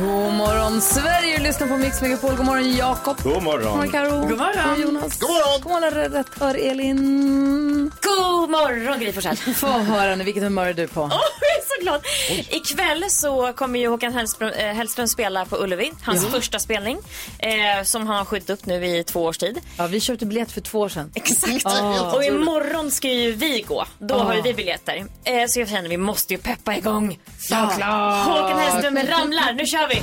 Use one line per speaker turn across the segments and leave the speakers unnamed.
God morgon Sverige, lyssna på Mix Megapol. God morgon Jakob.
God morgon.
God morgon Karo. God morgon Jonas. God morgon. God morgon redaktör Elin.
God morgon Gry Forssell.
Få höra nu, vilket humör är du på?
Åh, jag är så glad. Ikväll så kommer ju Håkan Hellström, eh, Hellström spela på Ullevi. Hans första spelning. Eh, som han har skjutit upp nu i två års tid.
Ja, vi köpte biljett för två år sedan.
Exakt. Och imorgon ska ju vi gå. Då har ju vi biljetter. Eh, så jag känner vi måste ju peppa igång. Såklart. Håkan Hellström ramlar. Nu kör vi.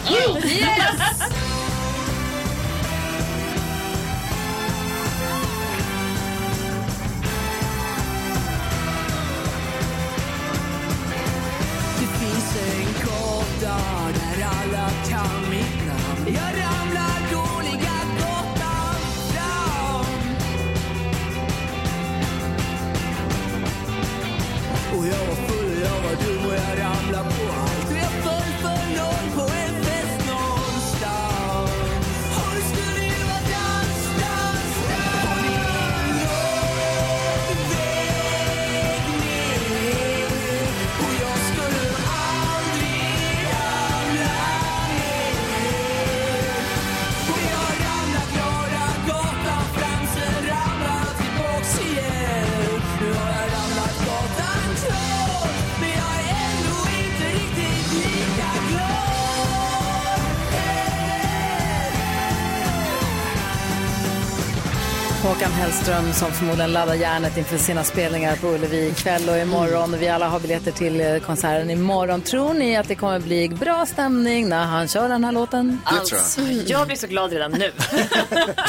Håkan Hellström som förmodligen laddar järnet inför sina spelningar på Ullevi ikväll och imorgon. Och vi alla har biljetter till eh, konserten imorgon. Tror ni att det kommer bli bra stämning när han kör den här låten?
Alltså, jag blir så glad redan nu.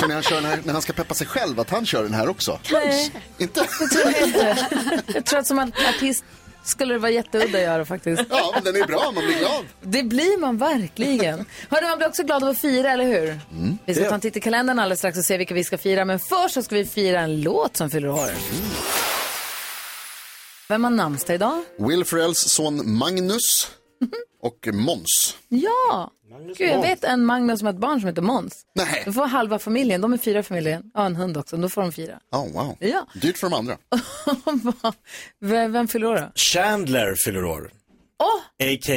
Så när han, kör den här, när han ska peppa sig själv, att han kör den här också?
Nej,
Inte?
det tror jag inte. Jag tror att som artist skulle det vara jätteudda att göra faktiskt.
Ja, men den är bra, man blir glad.
Det blir man verkligen. Hörde, man blir också glad av att fira, eller hur?
Mm.
vi ska ta en titt i kalendern alldeles strax och se vilka vi ska fira. Men först så ska vi fira en låt som fyller år. Vem har namnsdag idag?
Will Ferrells son Magnus och Mons.
Ja! Gud, jag vet en Magnus som har ett barn som heter Måns.
Nej.
Då får halva familjen, de är fyra i familjen, ja en hund också, då får de fyra.
Oh, wow.
Ja.
Dyrt för de andra.
vem, vem fyller år då? Eh,
Chandler fyller år. A.k.a.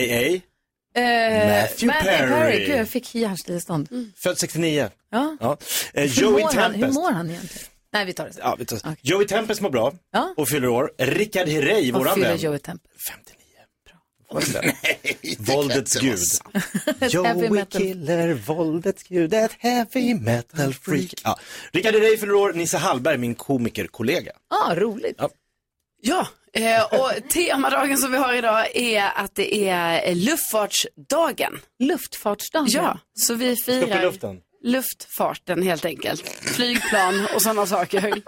Eh,
Matthew Perry.
Gud, jag fick hjärnstillestånd.
Född 69.
Ja.
Ja. Eh,
Hur,
Joey
mår han, hur
Tempest.
mår han egentligen? Nej, vi tar det sen.
Ja, vet du. Joey Tempest mår bra
Ja.
och fyller år. Rickard Herrey,
Vad
våran
fyller
vän.
Joey Tempest?
59. Vad är det? Våldets
inte vara
gud.
Heavy
Joey
metal.
Killer, våldets gud, ett heavy metal freak. Ja. Rickard Herrey fyller år, Nisse Hallberg, min komikerkollega.
Ja, Ah, roligt.
Ja.
Ja, eh, och temadagen som vi har idag är att det är eh, luftfartsdagen.
Luftfartsdagen.
Ja, så vi
Upp i
firar
luften.
luftfarten helt enkelt. Flygplan och sådana saker.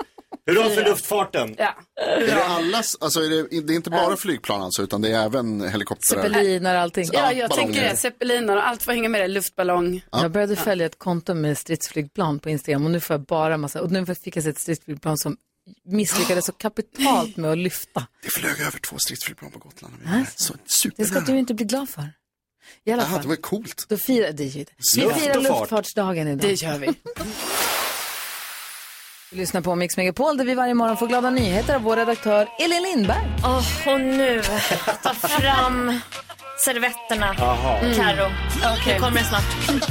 Hurra för luftfarten!
Ja.
Är det allas, alltså är det, det är inte bara flygplan alltså, utan det är även
Eh,
helikoptrar.
Zeppeliner och allting.
ja, jag
ballonger.
tänker det. Zeppeliner och allt vad hänger med det. Luftballong.
Jag började följa ett konto med stridsflygplan på Instagram och nu får jag bara massa, och nu fick jag se ett stridsflygplan som misslyckades så kapitalt med att lyfta.
Det flög över två stridsflygplan på Gotland. när vi var där. Så
Det ska du
supernära.
inte bli glad för. I alla
Jaha, det
fall,
var coolt.
då firar, det är ju det. Vi
Luft och
firar
fart.
luftfartsdagen idag.
Det gör vi.
Vi lyssnar på Mix Megapol där vi varje morgon får glada nyheter av vår redaktör Elin Lindberg.
Åh, och nu, ta fram servetterna, Carro. Nu kommer det snart.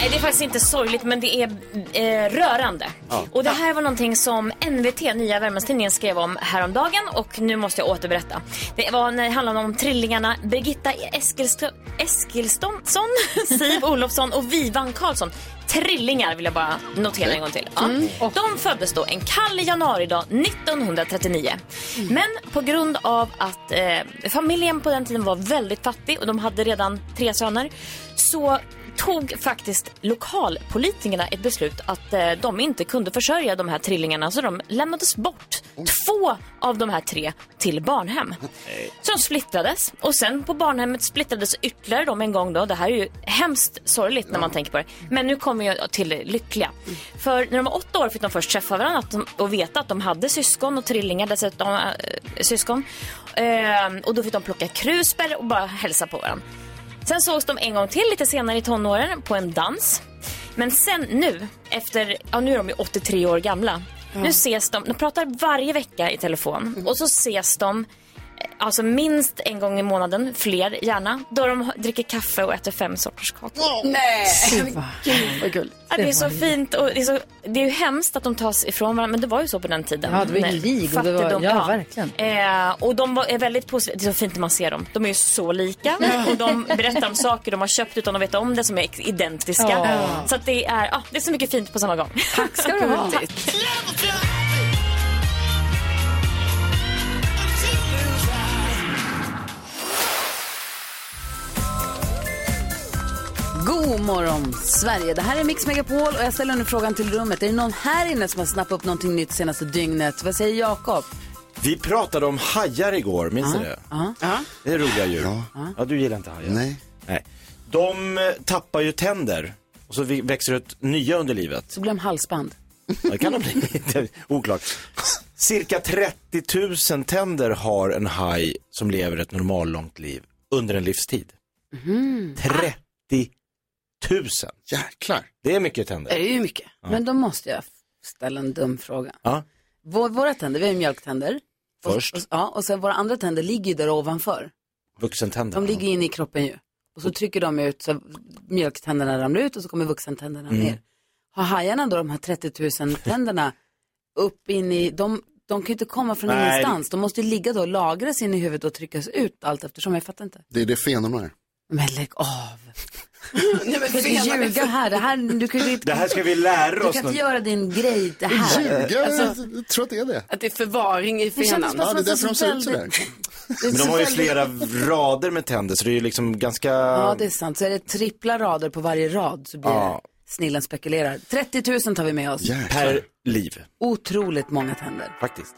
Nej, Det är faktiskt inte sorgligt, men det är eh, rörande. Och det här var någonting som NVT, Nya Värmlandstidningen, skrev om häromdagen och nu måste jag återberätta. Det var när det handlade om trillingarna Birgitta Eskilstö- Eskilstonsson, Siv Olofsson och Vivan Karlsson. Trillingar vill jag bara notera en gång till. Ja. De föddes då en kall januaridag 1939. Men på grund av att eh, familjen på den tiden var väldigt fattig och de hade redan tre söner så tog faktiskt lokalpolitikerna ett beslut att eh, de inte kunde försörja de här trillingarna så de lämnades bort Två av de här tre till barnhem. Så de splittrades och sen på barnhemmet splittrades ytterligare de en gång då. Det här är ju hemskt sorgligt när man tänker på det. Men nu kommer jag till det lyckliga. För när de var åtta år fick de först träffa varandra att de- och veta att de hade syskon och trillingar dessutom. Äh, syskon. Ehm, och då fick de plocka krusbär och bara hälsa på varandra. Sen sågs de en gång till lite senare i tonåren på en dans. Men sen nu, efter, ja nu är de ju 83 år gamla. Nu ses de, de pratar varje vecka i telefon och så ses de eh, Alltså minst en gång i månaden, fler gärna, då de dricker kaffe och äter fem sorters kakor.
Nej.
Vad gulligt.
Ja, det är så fint och det är, så, det är ju hemskt att de tas ifrån varandra men det var ju så på den tiden.
Ja, det var ju
Nej,
krig och det var-
fattigdom,
ja, verkligen.
Eh, och de var, är väldigt positiva, det är så fint när man ser dem. De är ju så lika och de berättar om saker de har köpt utan att veta om det som är ex- identiska.
Ja.
Så att det, är, ah, det är så mycket fint på samma gång.
Tack ska du ha. God morgon, Sverige. Det här är Mix Megapol och jag ställer nu frågan till rummet. Är det någon här inne som har snappat upp någonting nytt senaste dygnet? Vad säger Jakob?
Vi pratade om hajar igår, minns du det? Det är roliga djur. Ja. du gillar inte hajar.
Nej.
Nej. De eh, tappar ju tänder och så vi- växer det ut nya under livet.
Så glöm halsband.
Ja, Det kan de bli. Det är Oklart. Cirka 30 000 tänder har en haj som lever ett normallångt liv under en livstid. Mhm. 30 000.
Jäklar.
Det är mycket tänder.
Det är ju mycket.
Men då måste jag ställa en dum fråga.
Ja.
Vår, våra tänder, vi har ju mjölktänder. Och-
Först.
Och, ja, och sen våra andra tänder ligger ju där ovanför.
Vuxentänder.
De ligger inne i kroppen ju. Och så trycker de ut så mjölktänderna ramlar ut och så kommer vuxentänderna
Mm.
Mm.
ner. Har hajarna då de här 30 000 tänderna upp in i, de, de kan ju inte komma från
Nej.
ingenstans. De måste ju ligga då och lagras in i huvudet och tryckas ut allt eftersom. Jag fattar inte.
Det är det fenorna är.
Men lägg av.
Nej, men
Du kan inte ljuga här. Det här, du kan, du,
Det här ska vi lära
du
oss
kan
nu.
inte göra din grej det här. Alltså,
Ljuga? jag tror att det är det.
Att det är förvaring i
Det kändes
fenan.
bara
Ja, det är
som
därför de ser ut sådär.
Men
Men de har ju flera rader med tänder så det är ju liksom ganska...
Ja, det är sant. Så är det trippla rader på varje rad så blir
Ja.
det snillen spekulerar. 30 000 tar vi med oss.
Jäklar.
Per liv,
Otroligt många tänder. Mm.
faktiskt.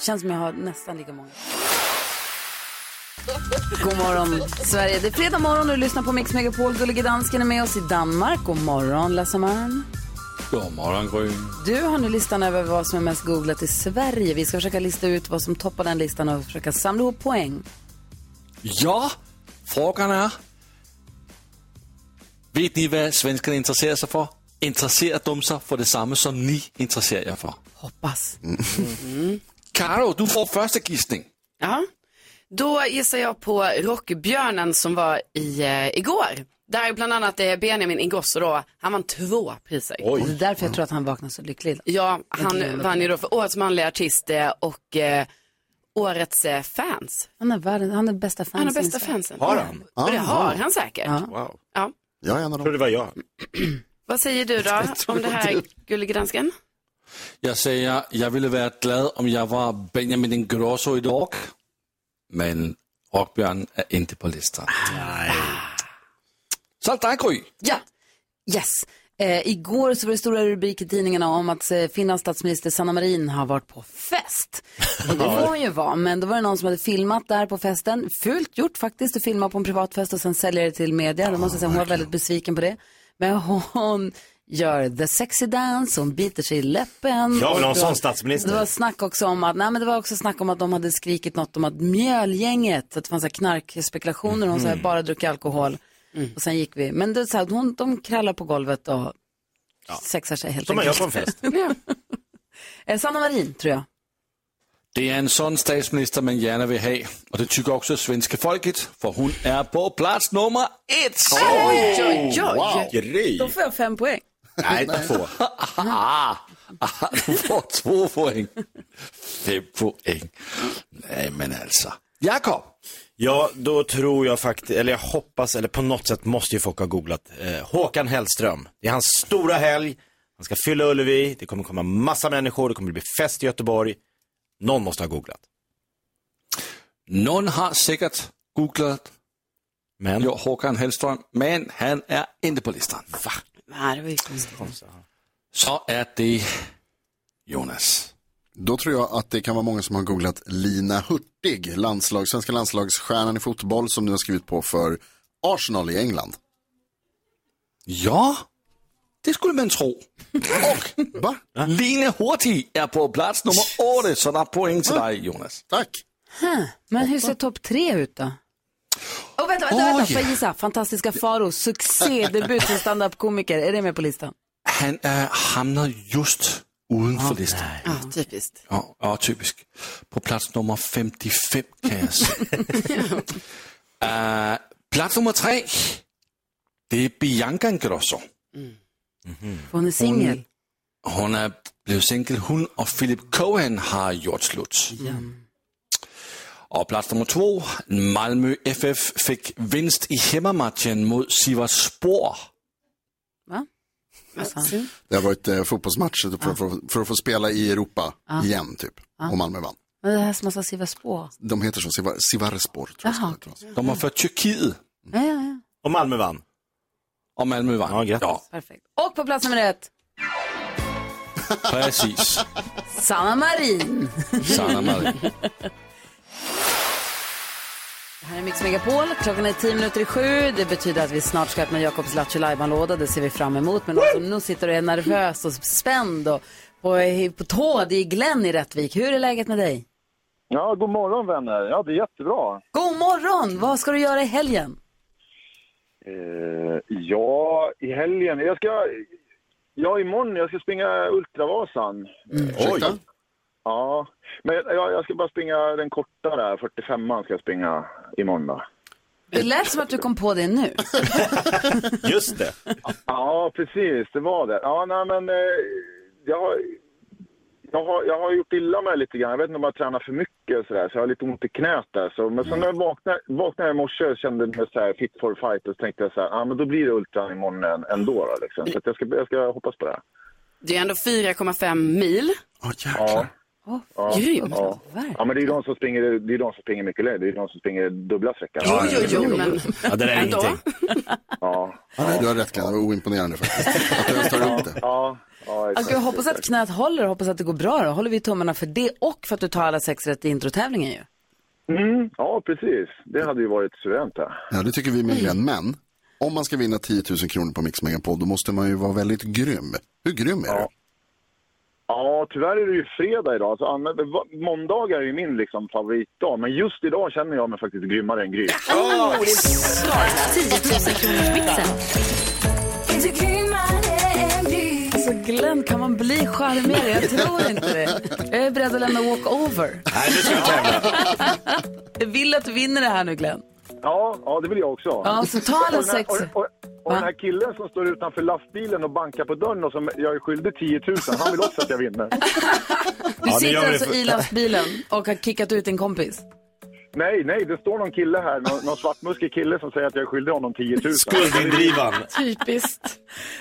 Känns som jag har nästan lika många. God morgon, Sverige. Det är fredag morgon och du lyssnar på Mix Megapol. Gullige dansken är med oss i Danmark. God morgon, Lasse Malm.
God morgon, Gry.
Du har nu listan över vad som är mest googlat i Sverige. Vi ska försöka lista ut vad som toppar den listan och försöka samla ihop poäng.
Ja, frågan är... Vet ni vad svenskarna intresserar sig för? Intresserar de sig för detsamma som ni intresserar er för?
Hoppas.
Karo, du får första gissning.
Ja. Då gissar jag på Rockbjörnen som var i, eh, igår. Där bland annat eh, Benjamin Ingrosso då, han vann två priser.
Det är därför jag tror att han vaknar så lycklig. idag.
Ja, han vann ju då för årets manliga artist eh, och eh, årets eh, fans.
Han är världens, han är bästa fansen.
Han har bästa
i Sverige.
fansen.
Har han?
Och det har han säkert. Ja.
Wow.
Jag är en av
Jag tror
dem.
det var jag.
Vad säger du då om det här gullegransken?
Jag säger, jag ville vara glad om jag var Benjamin Ingrosso idag. Men Rockbjörn är inte på listan. Så är det dig, Gry.
Ja. Yes. Eh, igår så var det stora rubriker i tidningarna om att eh, Finlands statsminister Sanna Marin har varit på fest. Och det får hon ju vara, men då var det någon som hade filmat där på festen. Fult gjort faktiskt att filma på en privatfest och sen sälja det till media. Då måste jag säga hon var väldigt besviken på det. Men hon gör the sexy dance, hon biter sig i läppen.
Ja, men
Och
någon
då-
sån statsminister.
Det var snack också om att, nej men det var också snack om att de hade skrikit något om att mjölgänget, att det fanns så här knarkspekulationer, hon så
Mhm.
här, bara druckit alkohol.
Mm.
Och sen gick vi. Men det, är så här, hon, de krallar på golvet och sexar sig helt
Som man gör på en fest.
Eh, Sanna Marin, tror jag.
Det är en sån statsminister man gärna vill ha. Och det tycker också svenska folket, för hon är på plats nummer ett.
Oj, oj, oj.
Gry.
Då får jag fem poäng.
Nej, två. Aha, aha, Ah, du får två poäng. Fem poäng. Nej, men alltså. Jakob.
Ja, då tror jag faktiskt, eller jag hoppas, eller på något sätt måste ju folk ha googlat eh, Håkan Hellström. Det är hans stora helg. Han ska fylla Ullevi. Det kommer komma massa människor. Det kommer bli fest i Göteborg. Någon måste ha googlat.
Någon har säkert googlat
Men
jo, Håkan Hellström, men han är inte på listan.
Nej, det var ju konstigt.
Så är det Jonas.
Då tror jag att det kan vara många som har googlat Lina Hurtig, landslag, svenska landslagsstjärnan i fotboll som nu har skrivit på för Arsenal i England.
Ja, det skulle man tro. Och
Va?
Line Hurtig är på plats nummer åtta, så det är poäng till dig Jonas.
Tack!
Men hur ser topp tre ut då? Oh, vänta, vänta, vänta, får jag gissa? Fantastiska Faro, succédebut som standup-komiker. Är det med på listan?
Han är hamnar just utanför listan.
Ja, typiskt.
Ja, ja, typisk. På plats nummer 55 kan jag säga. Eh, plats nummer tre, det är Bianca Ingrosso.
Mm.
För hon är singel.
Hon är blev singel, hon och Philip Cohen har gjort slut.
Mm.
Och plats nummer två, Malmö FF fick vinst i hemmamatchen mot Sivasspor.
Va?
Det har varit eh, fotbollsmatcher för, för, för att få spela i Europa igen typ. Och Malmö vann.
Men det här som man ska skriva spå.
De heter så, Sivar- Sivarspor tror jag.
Jaha.
ska det
alltså. De har fört Turkiet
Ja, ja, ja.
Och Malmö vann.
och Malmö
Ja,
vann.
grattis.
Perfekt. Och på plats nummer ett,
precis.
Sanna Marin.
Sanna Marin.
Det här är Mix Megapol. Klockan är tio minuter i sju. Det betyder att vi snart ska öppna Jakobs Lattjo lajban-låda. Det ser vi fram emot. Men någon som nu sitter och är nervös och spänd och på, på tå, det är Glenn i Rättvik. Hur är läget med dig?
Ja, god morgon vänner. Ja, det är jättebra.
God morgon! Vad ska du göra i helgen?
Eh, ja, i helgen. Jag ska... Ja, imorgon. Jag ska springa Ultravasan. Eh,
vara. Ursäkta?
Ja, men jag, jag ska bara springa den korta där. 45an ska jag springa imorgon då.
Det lät som att du kom på det nu.
Just det.
Ja, precis. Det var det. Ja, nej men... Eh, jag, har- jag, har, jag har gjort illa mig lite grann. Jag vet inte om jag tränar för mycket och sådär. Så jag har lite ont i knät där. Så, men sen när jag vaknade, vaknade jag i morse och kände mig så här fit for fight. Och så tänkte jag så här, ja men då blir det ultran imorgon än- ändå då, liksom. Så att jag, ska, jag ska hoppas på det.
Det är ändå 4,5 mil.
Åh jäklar.
Ja,
Grymt.
ja. ja, men det är ju de som springer, det är de som springer mycket längre. Det är de som springer dubbla sträckan.
Jo, jo, jo, men
Ja, det där är
Ändå.
ingenting.
Ja,
Ja, nej, du har rätt Glenn, det var oimponerande faktiskt. Att du ens tar upp det.
ja, ja,
Alltså, jag hoppas att knät håller och hoppas att det går bra. Då håller vi tummarna för det och för att du tar alla sex rätt i introtävlingen ju.
mm, ja, precis. Det hade ju varit suveränt. det.
Ja, det tycker vi med Glenn. Men om man ska vinna 10 000 kronor på Mix Megapol, då måste man ju vara väldigt grym. Hur grym är du?
Ja. Ja, tyvärr är det ju fredag idag. Så använd, va- måndagar är ju min liksom, favoritdag. Men just idag känner jag mig faktiskt grymmare än grym.
Svaret 10 000 kronors mixen.
Alltså Glenn, kan man bli charmigare? Jag tror inte det. Jag är beredd att lämna walkover.
Nej, nu ska vi tävla.
Jag vill att du vinner det här nu Glenn.
Ja, ja, det vill jag också.
Ja, så ta alla
Och den här-
sex.
och- och- Och den
Va?
här killen som står utanför lastbilen och bankar på dörren och som jag är skyldig 10 000, han vill också att jag vinner.
Du
Ja, det
sitter
gör vi
alltså
för-
i lastbilen och har kickat ut din kompis.
Nej, nej, det står någon kille här, någon, någon svartmuskig kille som säger att jag är skyldig honom 10 000.
Guldindrivan.
Typiskt.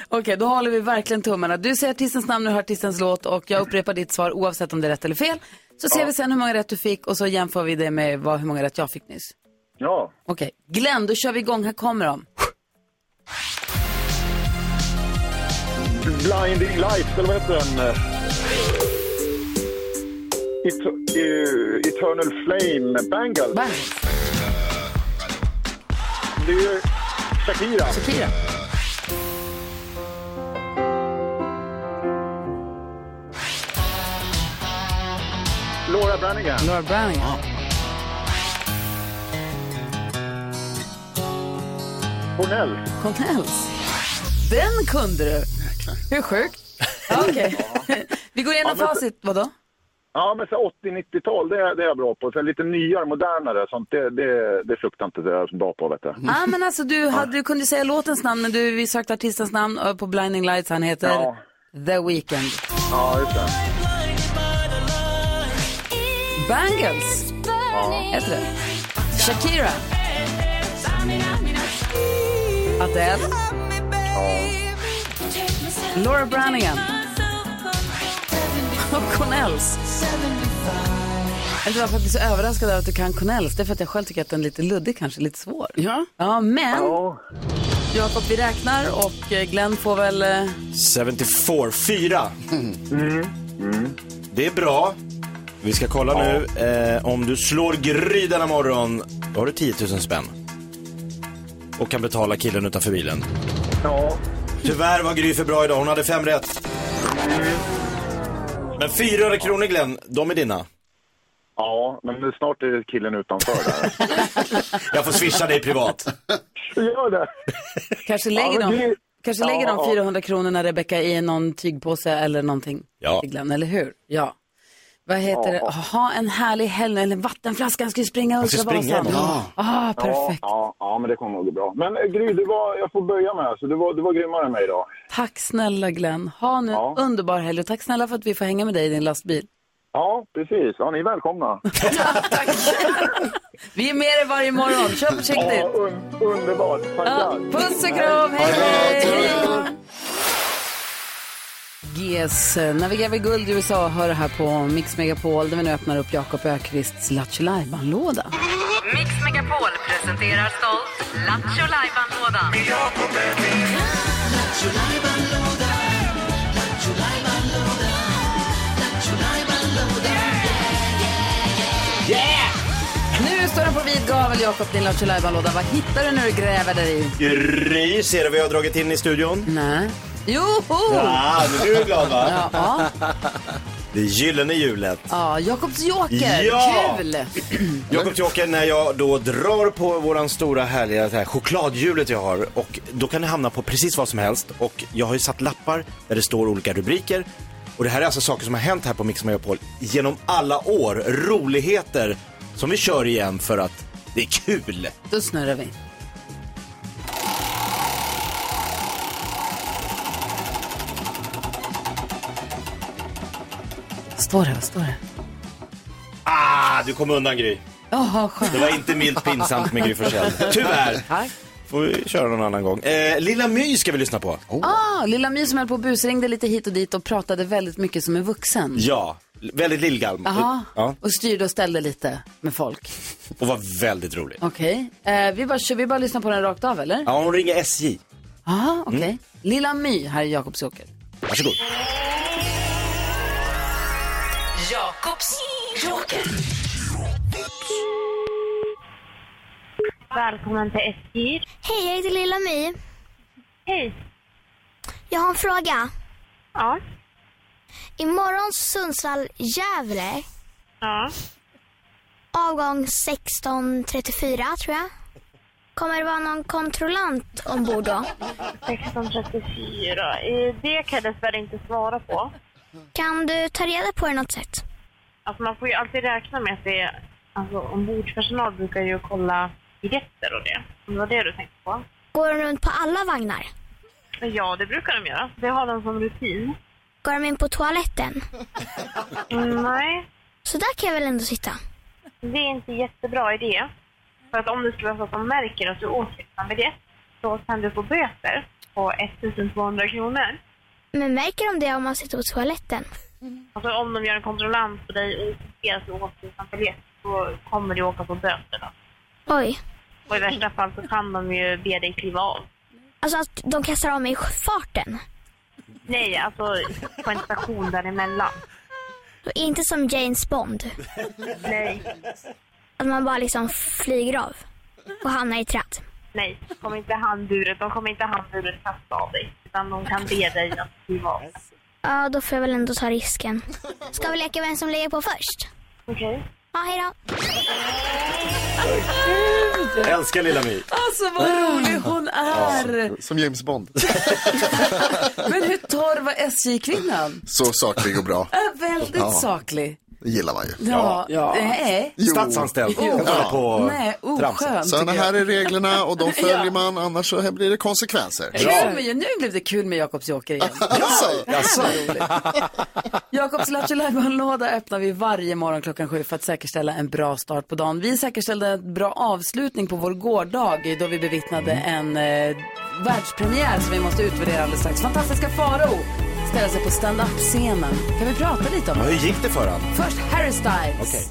Okej, då håller vi verkligen tummarna. Du säger artistens namn, nu hör artistens låt och jag upprepar ditt svar oavsett om det är rätt eller fel. Så ser vi sen hur många rätt du fick och så jämför vi det med vad, hur många rätt jag fick nyss.
Ja,
Okej, Glenn, då kör vi igång. Här kommer de.
Blinding Lights, eller vad heter den? Et- eh, Eternal Flame, Bangles.
Bang,
Det är ju Shakira.
Shakira.
Laura Branigan.
Laura Browning.
Cornell.
Cornells. Den kunde du. Hur sjukt? Ja, Okej. Vi går igenom
men-
facit. Vadå?
Ja, men så 80-90-tal, det, är- det är jag bra på. Sen lite nyare, modernare, sånt, det, det, det fruktar inte det är jag bra på, vet du.
Ja, ah, men alltså du, hade, du kunde säga låtens namn, men du, vi sökte artistens namn eh, på Blinding Lights. Han heter
Ja.
The Weeknd.
Ja, just det.
Bangles, heter det. Shakira. Adele. Laura Branigan. Och Cornells. Jag vet inte varför jag blir så överraskad över att du kan Cornells. Det är för att jag själv tycker att den är lite luddig kanske, lite svår.
Ja.
Ja, men
Ja,
Jakob, vi räknar och eh, Glenn får väl... eh,
Mm.
74, 4. Det är bra. Vi ska kolla nu. Eh, om du slår Gry denna morgon, då har du 10 000 spänn. Och kan betala killen utanför bilen.
Ja.
Tyvärr var Gry för bra idag. Hon hade fem rätt. Men 400 kronor Glenn, de är dina.
Ja, men snart är det killen utanför där.
Jag får swisha dig privat.
Gör det.
Kanske
Ja,
lägger,
men
de,
det-
kanske lägger
Ja,
de
ja.
400 kronorna, Rebecka, i någon tygpåse eller någonting.
Ja.
till Glenn, eller hur? Ja. Vad heter det? Ha en härlig helg, eller en vattenflaska, han Alltså, ska ju springa
Han ska springa
Ultravasan.
imorgon.
Ah, perfekt.
Ja, ja, ja, men det kommer nog gå bra. Men eh, Gry, du var, jag får börja med, alltså, du, var, du var grymmare än mig idag.
Tack snälla Glenn. Ha nu en
Ja.
underbar helg och tack snälla för att vi får hänga med dig i din lastbil.
Ja, precis. Ja, ni är välkomna.
Vi är med dig varje morgon. Kör
Ja,
försiktigt.
un, underbart. Tackar.
Puss och kram, hej hej! GES eh, navigerar vi guld i USA hör det här på Mix Megapol där vi nu öppnar upp Jakob Ökvists Lattjo Lajban-låda.
Mix Megapol presenterar stolt Lattjo Lajban-lådan.
Nu står den på vid gavel, Jakob, din Lattjo Lajban-låda. Vad hittar du när du gräver där i?
Gry, ser du vad jag har dragit in i studion?
Nej. Joho!
Ja, men du är glad va?
Ja, Oh! ja.
Det gyllene hjulet.
ja, Jakobs joker.
Ja!
Kul!
Jakob Tjocker, när jag då drar på våran stora härliga det här chokladhjulet jag har och då kan det hamna på precis vad som helst och jag har ju satt lappar där det står olika rubriker och det här är alltså saker som har hänt här på Mix Megapol genom alla år, roligheter som vi kör igen för att det är kul.
Då snurrar vi. Vad Står det? Vad står det?
Ah, du kom undan Gry.
Jaha,
Det
skönt.
var inte milt pinsamt med Gry Forssell. Tyvärr.
Tack.
Får vi köra någon annan gång. Eh, Lilla My ska vi lyssna på.
Ah, lilla My som höll på och busringde lite hit och dit och pratade väldigt mycket som en vuxen.
Ja, väldigt lillgalm.
Mm. Jaha,
Ja,
och styrde och ställde lite med folk.
och var väldigt rolig.
Okej, eh, vi, bara, kör- vi bara lyssnar på den rakt av eller?
Ja, hon ringer SJ.
Ja, Ah, okej. Lilla My, här är Jakobs joker.
Varsågod.
Jakobs joker.
Välkommen till SJ.
Hej, jag heter Lilla My.
Hej.
Jag har en fråga.
Ja.
Imorgon Sundsvall-Gävle.
Ja.
Avgång 16.34 tror jag. Kommer det vara någon kontrollant ombord då?
1634. Eh, Det kan jag dessvärre inte svara på.
Kan du ta reda på det något sätt?
Alltså man får ju alltid räkna med att det är... Alltså ombordpersonal brukar ju kolla biljetter och det. Om det var det du tänkte på?
Går de runt på alla vagnar?
Ja, det brukar de göra. Det har de som rutin.
Går de in på toaletten?
Mm, Nej,
Så där kan jag väl ändå sitta?
det är inte jättebra idé. För att om det skulle vara så att de märker att du åker utan biljett så kan du få böter på 1200 kronor.
Men märker de det om man sitter på toaletten?
Alltså om de gör en kontrollant på dig och ser att du åker utan biljett så kommer du åka på böter då.
Oj.
Och i värsta fall så kan de ju be dig kliva av.
Alltså att de kastar av mig i farten.
Nej, alltså på en station däremellan.
Och inte som James Bond.
Nej,
Att man bara liksom flyger av och hamnar i ett träd.
nej. Kom inte handburet. De kommer inte handburet kasta av dig. Utan de kan be dig att kliva av.
Ja, då får jag väl ändå ta risken. Ska vi leka vem som lägger på först?
Okej?
Ja, hej då.
Jag älskar Lilla My.
Alltså vad
Ah.
rolig hon är!
Som James Bond.
Men hur torr var SJ-kvinnan?
Så saklig och bra.
Äh, väldigt
Ja.
saklig.
Det gillar man ju.
Ja, nej,
Jo.
Statsanställd.
Jo.
Jag kollar
Ja.
på
nej, oskön
Sådana
tycker jag.
här är reglerna och de följer man, annars så här blir det konsekvenser.
Kul med, ju- nu blev det kul med Jakobs joker igen.
Alltså,
Alltså. Jakobs Lattjo Lajban-låda öppnar vi varje morgon klockan sju för att säkerställa en bra start på dagen. Vi säkerställde en bra avslutning på vår gårdag då vi bevittnade en eh, världspremiär som vi måste utvärdera alldeles strax. Fantastiska Farao ställer sig på stand-up-scenen. Kan vi prata lite om
Ja,
det?
hur gick det för han?
Först Harry Styles.
Okej.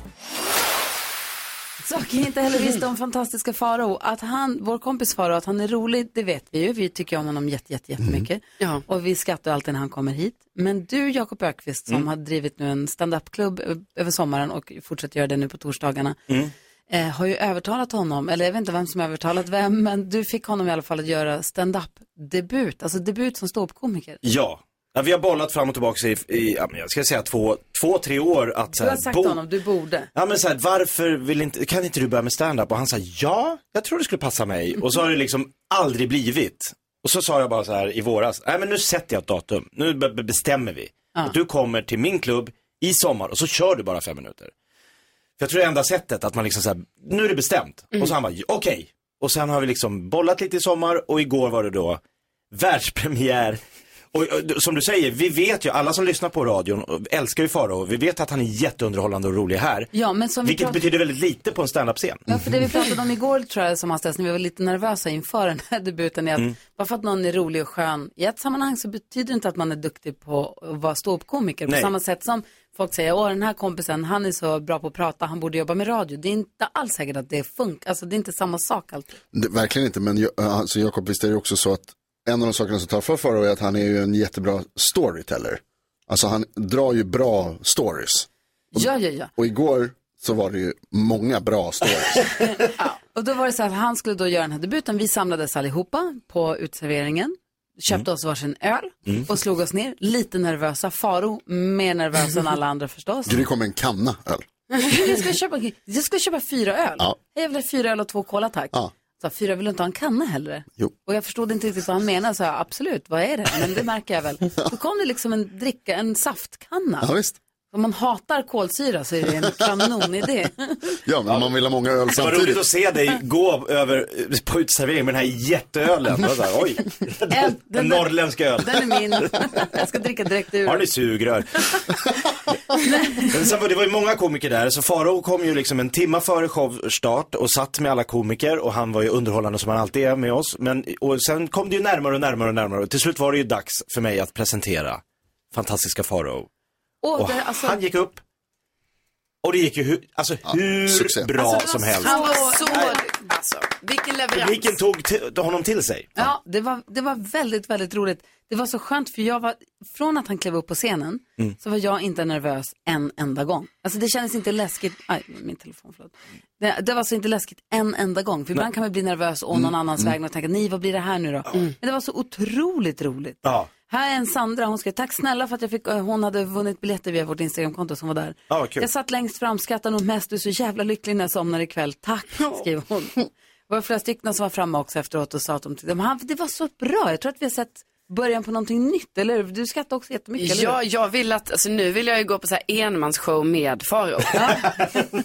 Saker jag inte heller visste om fantastiska Farao. Att han, vår kompis Farao, att han är rolig, det vet vi ju. Vi tycker om honom jätte, jätte,
Mm.
jättemycket. Och vi skrattar alltid när han kommer hit. Men du, Jakob Ökvist som
Mm.
har drivit nu en stand-up-klubb ö- över sommaren och fortsätter göra det nu på torsdagarna.
Mm.
Eh, har ju övertalat honom, eller jag vet inte vem som övertalat vem, men du fick honom i alla fall att göra stand-up-debut. Alltså debut som ståuppkomiker.
Ja. ja, vi har bollat fram och tillbaka i, i ja, men jag ska säga två, två tre år. Att, så
Du
här,
har sagt
bo-
till honom, du borde.
Ja men så här, varför vill inte, kan inte du börja med stand-up? Och han sa ja, jag tror det skulle passa
Mm.
mig. Och så har det liksom aldrig blivit. Och så sa jag bara så här i våras, nej men nu sätter jag ett datum, nu be- be- bestämmer vi.
Ja.
Att du kommer till min klubb i sommar och så kör du bara fem minuter. För jag tror det är enda sättet att man liksom så här, nu är det bestämt.
Mm.
Och så han bara, okej. Och sen har vi liksom bollat lite i sommar och igår var det då världspremiär. Och, och som du säger, vi vet ju, alla som lyssnar på radion och älskar ju Farao. Vi vet att han är jätteunderhållande och rolig här.
Ja, men som vi
Vilket
pratade-
betyder väldigt lite på en standup-scen.
Ja, för det vi pratade om igår tror jag som hastigast när vi var lite nervösa inför den här debuten är att
Mm.
bara för att någon är rolig och skön i ett sammanhang så betyder det inte att man är duktig på att vara ståuppkomiker. På
Nej.
samma sätt som folk säger, åh den här kompisen han är så bra på att prata, han borde jobba med radio. Det är inte alls säkert att det funkar, alltså det är inte samma sak alltid.
Det, verkligen inte, men jag- alltså, Jakob, visst är det också så att en av de sakerna som tar för Farao är att han är ju en jättebra storyteller. Alltså han drar ju bra stories.
Ja, ja, ja.
Och igår så var det ju många bra stories.
Och då var det så att han skulle då göra den här debuten. Vi samlades allihopa på utserveringen, köpte oss varsin öl
Mm.
och slog oss ner. Lite nervösa, Faro mer nervös än alla andra förstås.
Gry kom med en kanna öl.
jag, ska köpa, jag ska köpa fyra öl.
Ja.
Jag vill ha fyra öl och två cola tack.
Ja.
Så fyra vill du inte ha en kanna heller?
Jo.
Och jag förstod inte riktigt vad han menade, så jag, absolut, vad är det? Men det märker jag väl. Då kom det liksom en dricka, en saftkanna.
Ja, visst.
Om man hatar kolsyra så är det en kanonidé.
Ja, men man vill ha många öl
Det var roligt
samtidigt.
att se dig gå över eh, på utservering med den här jätteölen. Det var så här, Oj, en norrländsk öl.
Den är min. Jag ska dricka direkt ur.
Har ni sugrör? Men sen var det var ju många komiker där, så Farao kom ju liksom en timma före showstart och satt med alla komiker och han var ju underhållande som han alltid är med oss. Men, och sen kom det ju närmare och närmare och närmare och till slut var det ju dags för mig att presentera fantastiska Farao.
Åh,
Och
det- alltså-
han gick upp och det gick ju hu- alltså, hur bra som helst.
Han var så, alltså, vilken leverans.
Publiken tog t- honom till sig.
Ja, det var, det var väldigt, väldigt roligt. Det var så skönt för jag var, från att han klev upp på scenen
Mm.
så var jag inte nervös en enda gång. Alltså det kändes inte läskigt, aj, min telefon, förlåt. Det, det var så inte läskigt en enda gång. För ibland kan man bli nervös å
Mm.
någon annans vägnar och tänka, nej vad blir det här nu då? Mm. Men det var så otroligt roligt.
Ja.
Här är en Sandra, hon skrev, tack snälla för att jag fick, eh, hon hade vunnit biljetter via vårt Instagramkonto som var där.
Ja, vad kul.
Jag satt längst fram, skrattade nog mest, du är så jävla lycklig när jag somnar ikväll, tack, skrev hon. Det var flera stycken som var framme också efteråt och sa att de tyckte, men han, det var så bra, jag tror att vi har sett början på någonting nytt, eller hur? Du skrattade också jättemycket, eller
Ja,
hur?
jag vill att, alltså nu vill jag ju gå på så här enmansshow med Farao. Ja.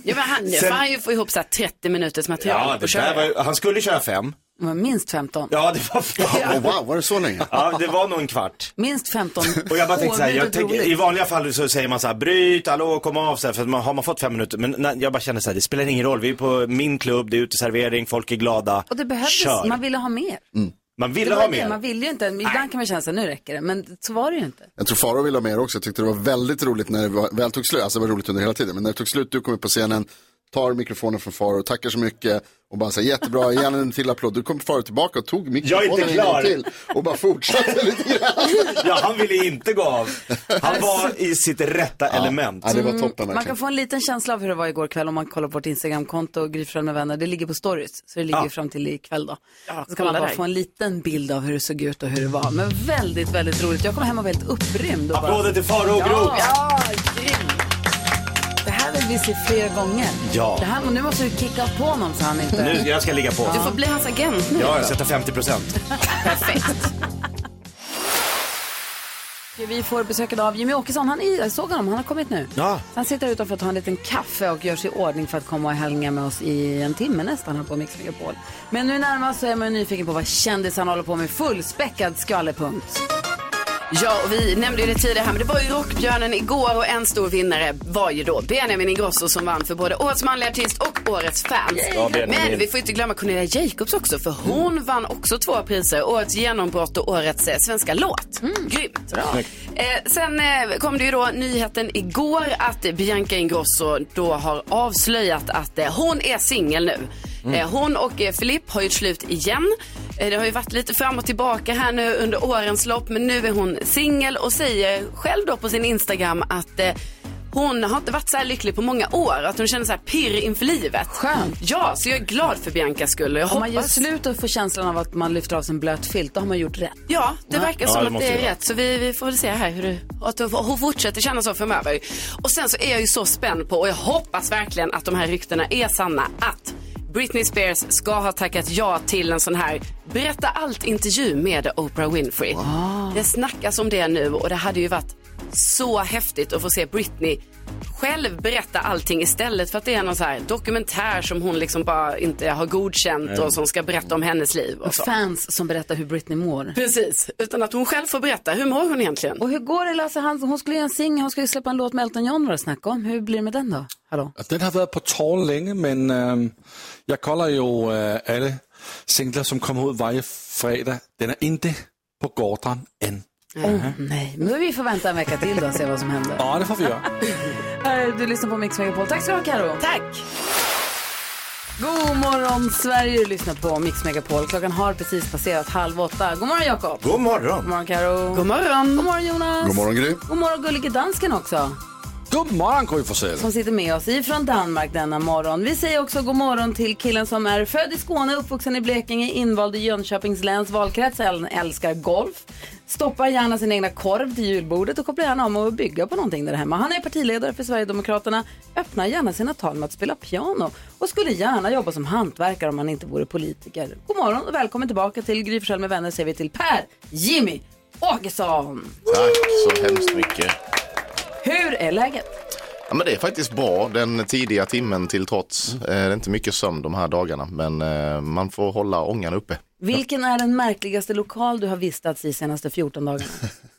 men han, nu får
Sen-
han ju få ihop så här 30 minuters material
Ja, det
att köra.
där var, ju- han skulle köra fem.
Det
Mm.
var minst 15.
Ja, det var
Wow, var det så länge?
Ja, det var nog en kvart.
Minst 15.
Och jag bara tänkte så här, jag
Oerhört
tänker,
roligt.
i vanliga fall så säger man så här, bryt, hallå, kom av, så här, för man, har man fått fem minuter, men nej, jag bara känner så här, det spelar ingen roll, vi är på min klubb, det är uteservering, folk är glada,
Och det behövdes,
kör.
man ville ha mer.
Mm. Man ville
det var
ha
det,
mer.
Man ville ju inte, ibland kan man känna så här, nu räcker det, men så var det ju inte.
Jag tror Farao vill ha mer också. Jag tyckte det var väldigt roligt när det var, väl tog slut. Alltså det var roligt under hela tiden. Men när det tog slut, du kom upp på scenen, tar mikrofonen från Farao, tackar så mycket och bara säger jättebra, gärna en till applåd. Du kom Farao tillbaka och tog
Jag är inte
mikrofonen en gång
klar.
till och bara fortsatte lite grann.
Ja, han ville inte gå av. Han var i sitt rätta element.
ja, det var toppen
Mm. Man kan få en liten känsla av hur det var igår kväll om man kollar på vårt Instagramkonto, Gry Forssell med vänner. Det ligger på stories, så det ligger
Ja.
ju fram till ikväll då. så kan
kolla
man bara
där.
få en liten bild av hur det såg ut och hur det var. Men väldigt, väldigt roligt. Jag kom hem och var helt upprymd. och bara-
Applåder till Faro och Groth.
Ja, grymt. Det här vill vi se fler gånger.
Ja.
Det här, nu måste du kicka på honom så han inte...
Nu, jag ska ligga på.
Du får bli hans agent nu.
Ja, jag sätter 50 procent.
Perfekt. Vi får besök idag av Jimmy Åkesson. Han är, jag såg honom, han har kommit nu.
Ja.
Han sitter här utanför och tar en liten kaffe och gör sig i ordning för att komma och hänga med oss i en timme nästan här på Mix Megapol. Men nu närmast så är man ju nyfiken på vad kändisarna håller på med. Fullspäckad skvallerpunkt.
Ja, och vi nämnde ju det tidigare här, men det var ju Rockbjörnen igår och en stor vinnare var ju då Benjamin Ingrosso som vann för både Årets manliga artist och Årets fans.
Ja, Benjamin.
men vi får inte glömma Cornelia Jacobs också, för hon vann också två priser, Årets genombrott och Årets eh, svenska låt.
Mm.
Grymt!
Snyggt.
Eh, sen eh, kom det ju då nyheten igår att Bianca Ingrosso då har avslöjat att eh, hon är singel nu.
Mm.
Eh, hon och eh, Filipp har gjort slut igen. Eh, det har ju varit lite fram och tillbaka här nu under årens lopp men nu är hon singel och säger själv då på sin Instagram att eh, hon har inte varit så här lycklig på många år, att hon känner så här pirr inför livet. Skönt. Ja, så jag är glad för Biancas skull och jag
Om man gör
hoppas...
slut och får känslan av att man lyfter av sig en blöt filt, då har man gjort rätt.
Ja, det
Ja.
verkar
Ja,
som
det
att
måste
det
det
är
vara.
rätt. Så vi, vi får väl se här hur det, att hon- hon fortsätter känna så framöver. Och sen så är jag ju så spänd på och jag hoppas verkligen att de här ryktena är sanna. Att Britney Spears ska ha tackat ja till en sån här berätta allt-intervju med Oprah Winfrey. Det snackas om det nu och det hade ju varit så häftigt att få se Britney själv berätta allting istället för att det är någon så här dokumentär som hon liksom bara inte har godkänt
Nej.
och som ska berätta om hennes liv. Och
Och
så.
fans som berättar hur Britney mår.
Precis, utan att hon själv får berätta. Hur mår hon egentligen?
Och hur går det Lasse Hansson? Hon skulle göra en singel, hon skulle släppa en låt med Elton John var det snack om. Hur blir det med den då? Hallå?
Den har varit på tår länge, men ehm, jag kollar ju äh, alla singlar som kommer ut varje fredag. Den är inte på gården än.
Åh nej, men då vi får vänta en vecka till då och se vad som händer.
Ja, det får vi göra.
Eh, Du lyssnar på Mix Megapol. Tack ska du ha Karo.
Tack.
God morgon Sverige, du lyssnar på Mix Megapol. Klockan har precis passerat halv åtta. God morgon Jakob.
God morgon.
God morgon Karo.
God morgon.
God morgon Jonas.
God morgon, Gry.
God morgon gullige dansken också.
God morgon Gry Forssell.
Som sitter med oss ifrån Danmark denna morgon. Vi säger också god morgon till killen som är född i Skåne, uppvuxen i Blekinge, invald i Jönköpings läns valkrets. Han älskar golf, stoppar gärna sin egna korv till julbordet och kopplar gärna om och bygga på någonting där hemma. Han är partiledare för Sverigedemokraterna, öppnar gärna sina tal med att spela piano och skulle gärna jobba som hantverkare om han inte vore politiker. God morgon och välkommen tillbaka till Gry Forssell med vänner säger vi till Per Jimmy Åkesson.
Tack så hemskt mycket.
Hur är läget?
Ja, men det är faktiskt bra, den tidiga timmen till trots.
Mm.
Eh, Det är inte mycket sömn de här dagarna, men eh, man får hålla ångan uppe.
Vilken är den märkligaste lokal du har vistats i senaste 14 dagarna?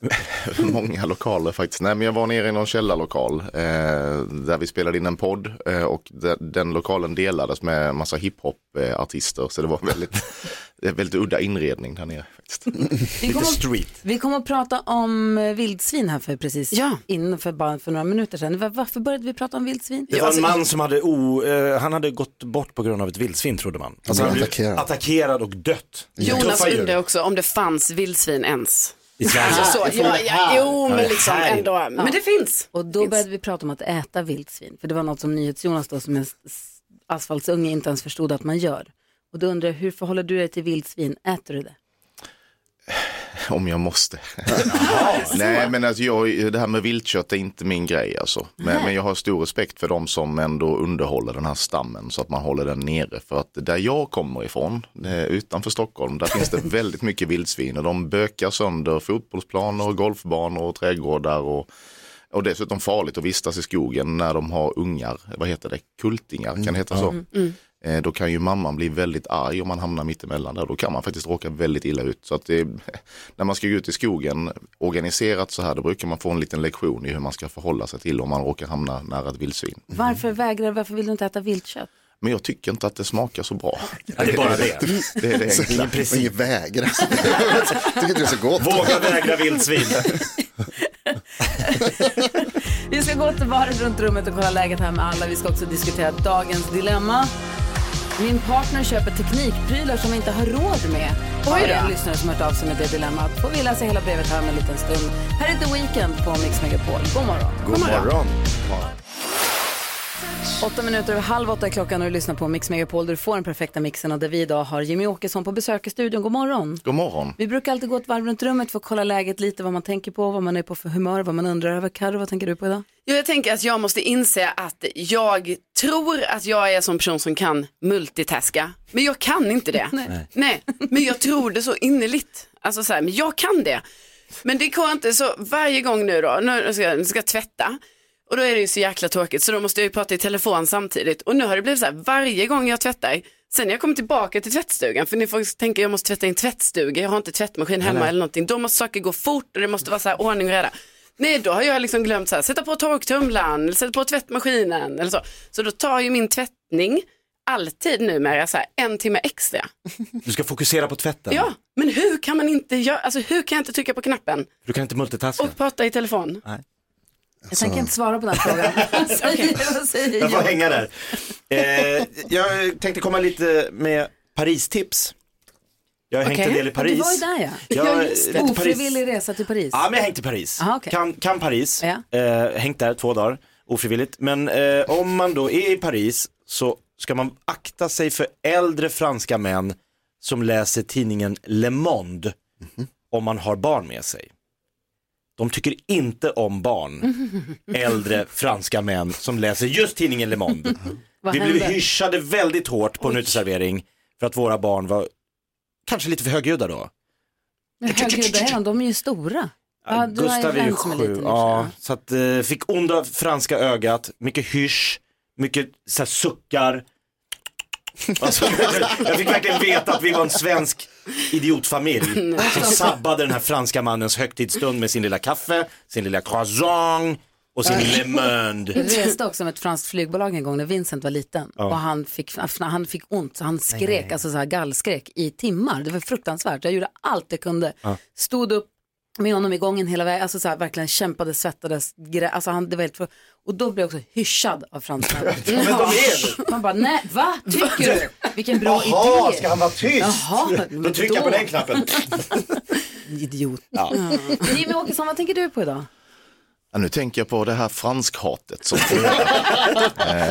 Många lokaler faktiskt. Nej, men jag var nere i någon källarlokal eh, där vi spelade in en podd eh, och de, den lokalen delades med en massa hiphop-artister. Så det var väldigt, det är väldigt udda inredning där nere. Faktiskt.
kommer- Vi kommer att prata om eh, vildsvin här för precis innan för bara för några minuter sedan. Var- Varför började vi prata om vildsvin? Alltså,
Det var en man som hade, o, eh, han hade gått bort på grund av ett vildsvin trodde man. Alltså, han blev attackerad. och dött.
Jonas
Tuffa djur.
undrar också om det fanns vildsvin ens.
I Sverige.
Alltså, så,
Det får
ja,
väl
ja,
här.
jo, men
Ja,
liksom
här.
ändå. Men det finns.
Och då började vi prata om att äta vildsvin. För det var något som NyhetsJonas då som en s- s- asfaltsunge inte ens förstod att man gör. Och då undrar jag, hur förhåller du dig till vildsvin? Äter du
Mm.
det?
Om jag måste. Nej men alltså jag, det här med viltkött är inte min grej alltså. Men, men jag har stor respekt för de som ändå underhåller den här stammen så att man håller den nere. För att där jag kommer ifrån, eh, utanför Stockholm, där finns det väldigt mycket vildsvin och de bökar sönder fotbollsplaner, och golfbanor och trädgårdar. Och, och dessutom farligt att vistas i skogen när de har ungar, vad heter det, kultingar, kan det heta så?
Mm, mm.
Eh, Då kan ju mamman bli väldigt arg om man hamnar mittemellan där. Då kan man faktiskt råka väldigt illa ut. Så att det, när man ska gå ut i skogen organiserat så här, då brukar man få en liten lektion i hur man ska förhålla sig till om man råkar hamna nära ett vildsvin.
Varför vägrar Varför vill du inte äta viltkött?
Men jag tycker inte att det smakar så bra.
Ja, det är bara det.
Det är det
Så-
enkla.
i princip. Ingen
vägra.
tycker inte det är så gott.
Våga vägra vildsvin.
Vi ska gå till varvet runt rummet och kolla läget här med alla. Vi ska också diskutera dagens dilemma. Min partner köper teknikprylar som jag inte har råd med.
Oj
Har
då.
en lyssnare som hört av sig med det dilemmat. Får vi läsa hela brevet här om en liten stund. Här är The Weeknd på Mix Megapol. God morgon.
God morgon.
Åtta minuter över halv åtta är klockan och du lyssnar på Mix Megapol där du får den perfekta mixen och där vi idag har Jimmy Åkesson på besök i studion. God morgon.
God morgon.
Vi brukar alltid gå ett varv runt rummet för att kolla läget lite, vad man tänker på, vad man är på för humör, vad man undrar över. Carro, vad tänker du på idag?
Jo, jag tänker att jag måste inse att jag tror att jag är en sån person som kan multitaska, men jag kan inte det.
Nej.
Nej, men jag tror det så innerligt. Alltså så här, men jag kan det. Men det går inte, så varje gång nu då, nu ska jag, nu ska jag tvätta, Och då är det ju så jäkla tråkigt så då måste jag ju prata i telefon samtidigt. Och nu har det blivit så här varje gång jag tvättar, sen när jag kommer tillbaka till tvättstugan, för ni får tänka jag måste tvätta i en tvättstuga, jag har inte tvättmaskin hemma
Nej, nej.
eller någonting, då måste saker gå fort och det måste vara så här ordning och reda. Nej, då har jag liksom glömt så här, sätta på torktumlaren, eller sätta på tvättmaskinen eller så. Så då tar ju min tvättning alltid numera så här en timme extra.
Du ska fokusera på tvätten.
Ja, men hur kan man inte göra, alltså hur kan jag inte trycka på knappen
Du kan inte multitaska.
och prata i telefon?
Nej.
Jag tänker inte svara på den frågan. Säg- säg
Jag får
ja.
hänga där. Eh, jag tänkte komma lite med Paris-tips. Jag har hängt en del i Paris.
Du var ju där ja.
Jag, jag till Paris.
Ofrivillig resa till Paris.
Ja, men jag har hängt i Paris.
Aha, okej.
kan, kan Paris. Eh, hängt där två dagar, ofrivilligt. Men eh, om man då är i Paris så ska man akta sig för äldre franska män som läser tidningen Le Monde om man har barn med sig. De tycker inte om barn, äldre franska män som läser just tidningen Le Monde.
Vad
Vi blev
hände?
hyschade väldigt hårt på en uteservering för att våra barn var kanske lite för högljudda då.
Men herregud, det är de, de är ju stora. Ja, du har ju
Gustav är ju
en som
sju,
liten.
ja, så att, eh, fick onda franska ögat, mycket hysch, mycket så här, suckar. Alltså, jag fick verkligen veta att vi var en svensk idiotfamilj som sabbade den här franska mannens högtidsstund med sin lilla kaffe, sin lilla croissant och sin Le
Vi
Monde.
reste också med ett franskt flygbolag en gång när Vincent var liten
Ja.
och han fick, han fick ont, så han skrek, alltså så här gallskrek i timmar. Det var fruktansvärt. Jag gjorde allt jag kunde.
Ja.
Stod upp med honom i gången hela vägen, alltså så här, verkligen kämpade, svettades, grä, alltså han, det var helt, för- och då blev jag också hyschad av fransmännen.
Men de
är Man bara, nej, va, tycker du? Vilken bra
Jaha,
idé.
ska han vara tyst?
Jaha,
Då trycker jag på den knappen.
Idiot.
Ja.
Jimmy Åkesson, vad tänker du på idag?
Ja, nu tänker jag på det här franskhatet som,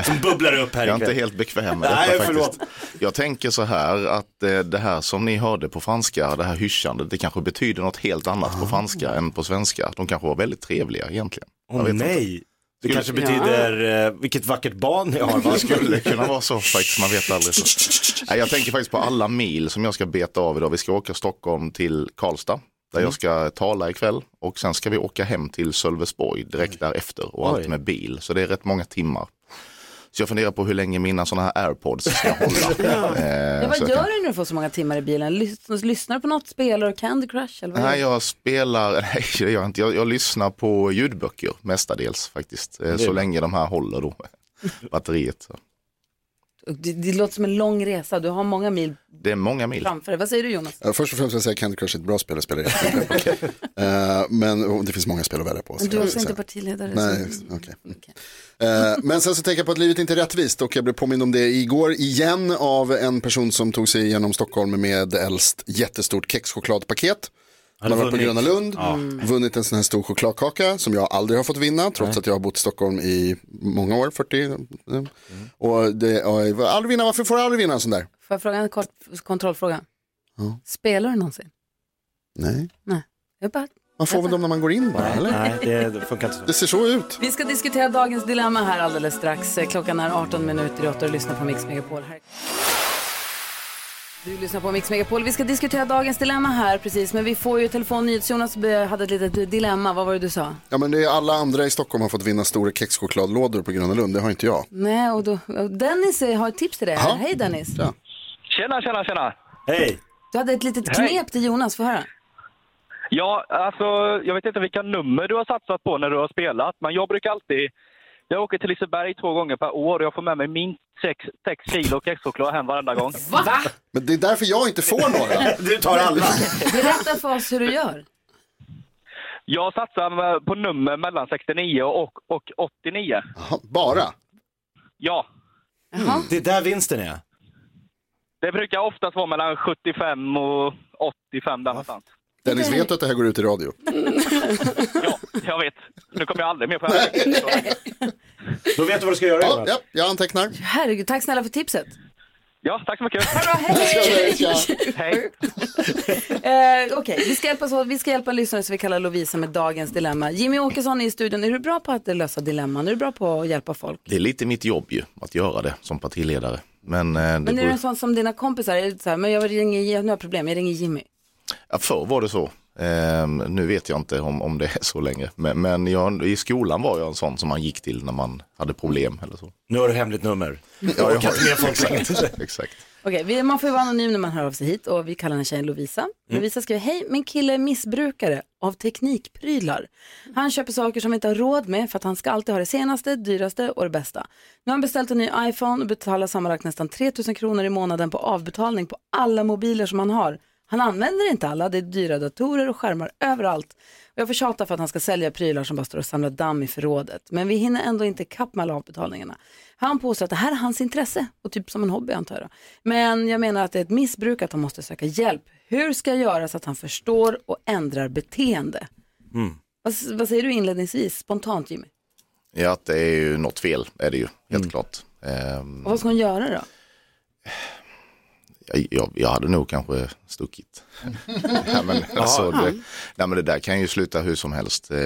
som bubblar upp här
Jag är inte
ikväll.
helt bekväm med detta
Nej, förlåt.
faktiskt. Jag tänker så här att eh, det här som ni hörde på franska, det här hyschandet, det kanske betyder något helt annat på franska än på svenska. De kanske var väldigt trevliga egentligen.
Åh, nej. Det
Skulle-
kanske betyder eh, vilket vackert barn ni har. va?
Det skulle kunna vara så faktiskt, man vet aldrig. Så. Nej, jag tänker faktiskt på alla mil som jag ska beta av idag. Vi ska åka Stockholm till Karlstad där
Mm.
jag ska tala ikväll och sen ska vi åka hem till Sölvesborg direkt
Mm.
därefter och allt
Oj.
med bil. Så det är rätt många timmar. Så jag funderar på hur länge mina sådana här airpods ska hålla. Eh,
Ja,
så
vad
jag kan-
gör du när du får så många timmar i bilen? Lys- Lyssnar du på något, spelar du Candy Crush? Eller vad gör
Nej,
du?
jag spelar, nej det gör jag inte. Jag, jag lyssnar på ljudböcker mestadels faktiskt. Eh,
är
Så
bra.
länge de här håller då, batteriet. Så.
Det, det låter som en lång resa, du har många mil
Det är många mil.
framför dig. Vad säger du Jonas?
Ja, Först och främst vill jag säga att Candy Crush är ett bra spel att spela i. Eh, men och det finns många spel att välja på. så
Men du är
jag
också
vill
inte
säga.
partiledare.
Nej,
så-
okej. Eh, men sen så tänker jag på att livet inte är rättvist och jag blev påmind om det igår igen av en person som tog sig igenom Stockholm med äldst jättestort kexchokladpaket. Han
det
har varit på
vunnit.
Gröna Lund,
Ja.
vunnit en sån här stor chokladkaka som jag aldrig har fått vinna trots att jag har bott i Stockholm i många år, 40. eh, Och det, ja, jag får aldrig vinna, varför får jag aldrig vinna en sån där?
Får jag fråga en kort f- kontrollfråga?
Ja.
Spelar du någonsin?
Nej.
Nej. Jag bara...
Man får väl dem när man går in bara, eller?
Nej, det, funkar inte så.
Det ser så ut.
Vi ska diskutera dagens dilemma här alldeles strax. Eh, Klockan är 18 minuter i 8 och lyssnar på Mix Megapol. Här. Du lyssnar på Mix Megapol. Vi ska diskutera dagens dilemma här precis, men vi får ju telefon. Jonas be- hade ett litet dilemma. Vad var det du sa?
Ja men det är alla andra i Stockholm har fått vinna stora kexchokladlådor på Gröna Lund, det har inte jag.
Nej, och då, och Dennis eh, har ett tips till dig. här. Hej Dennis.
Tjena, tjena, tjena!
Hej!
Du hade ett litet
Hej.
knep till Jonas, få höra.
Ja, alltså, jag vet inte vilka nummer du har satsat på när du har spelat, men jag brukar alltid... Jag åker till Liseberg två gånger per år och jag får med mig minst sex, sex kilo kexchoklad hem varenda gång.
Va?
Men det är därför jag inte får några.
du tar alla.
Berätta för oss hur du gör.
Jag satsar med- på nummer mellan 69 och, och 89.
bara?
Ja.
Det är där vinsten är.
Det brukar oftast vara mellan 75 och 85 där någonstans.
Dennis vet du att det här går ut i radio.
Jag vet. Nu kommer jag aldrig mer på det här.
Då vet du vad du ska göra.
Ja, ja jag antecknar.
Herregud, tack snälla för tipset.
Ja, tack så mycket. Hej.
Eh, Okej, vi, ska hjälpas åt- vi ska hjälpa en lyssnare som vi kallar Lovisa med dagens dilemma. Jimmy Åkesson är i studion. Är du bra på att lösa dilemman? Är du bra på att hjälpa folk?
Det är lite mitt jobb ju att göra det som partiledare. Men, eh, det
Men är
beror...
du en sån som dina kompisar? Är det så här, men jag ringer, nu har jag problem, jag ringer Jimmy.
ja, förr var det så. Ehm, nu vet jag inte om, om det är så länge, men, men jag, i skolan var jag en sån som man gick till när man hade problem eller så.
Nu har du hemligt nummer.
Ja,
Jag orkar
har
inte med
det.
folk längre.
Exakt, Exakt.
Okej, vi- man får ju vara anonym när man hör av sig hit och vi kallar den här tjejen Lovisa. Lovisa skriver, hej, min kille är missbrukare av teknikprylar. Han köper saker som vi inte har råd med för att han ska alltid ha det senaste, dyraste och det bästa. Nu har han beställt en ny iPhone och betalar sammanlagt nästan 3 000 kronor i månaden på avbetalning på alla mobiler som han har. Han använder inte alla, det är dyra datorer och skärmar överallt. Och jag får tjata för att han ska sälja prylar som bara står och samlar damm i förrådet. Men vi hinner ändå inte ikapp med alla avbetalningarna. Han påstår att det här är hans intresse och typ som en hobby antar jag. då. Men jag menar att det är ett missbruk att han måste söka hjälp. Hur ska jag göra så att han förstår och ändrar beteende?
Mm.
Vad, s- vad säger du inledningsvis, spontant Jimmy?
Ja, att det är ju något fel är det ju, helt klart. Ehm,
Och vad ska hon göra då?
jag- jag, jag hade nog kanske stuckit. nej, men, alltså, det, nej, men det där kan ju sluta hur som helst. Eh,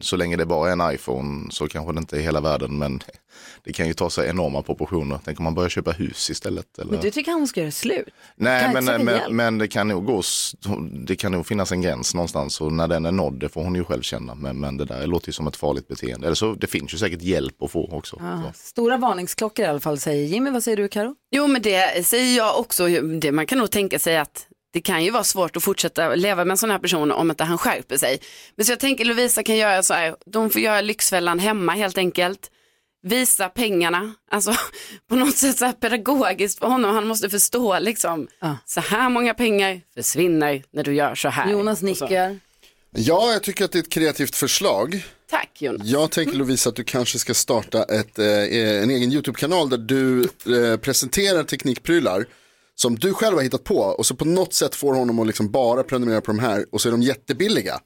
Så länge det bara är en iPhone så kanske det inte är hela världen, men det kan ju ta sig enorma proportioner. Tänk om man börjar köpa hus istället. Eller?
Men du tycker han ska göra slut?
Nej,
Kan
men,
inte söka hjälp?
men, men det kan nog gå, s- det kan nog finnas en gräns någonstans och när den är nådd, det får hon ju själv känna. Men, men det där låter ju som ett farligt beteende. Eller så, det finns ju säkert hjälp att få också.
Ah, stora varningsklockor i alla fall säger Jimmy. Vad säger du Karo?
Jo men det säger jag också, det, man kan nog tänka sig att det kan ju vara svårt att fortsätta leva med en sån här person om inte han skärper sig. Men så jag tänker Lovisa kan göra så här, de får göra Lyxfällan hemma helt enkelt. Visa pengarna, alltså på något sätt så här pedagogiskt för honom, han måste förstå liksom. Så här många pengar försvinner när du gör så här.
Jonas nickar.
Ja, jag tycker att det är ett kreativt förslag.
Tack Jonas.
Jag tänker Lovisa att du kanske ska starta ett, eh, en egen YouTube-kanal där du eh, presenterar teknikprylar som du själv har hittat på och så på något sätt får honom att liksom bara prenumerera på de här och så är de jättebilliga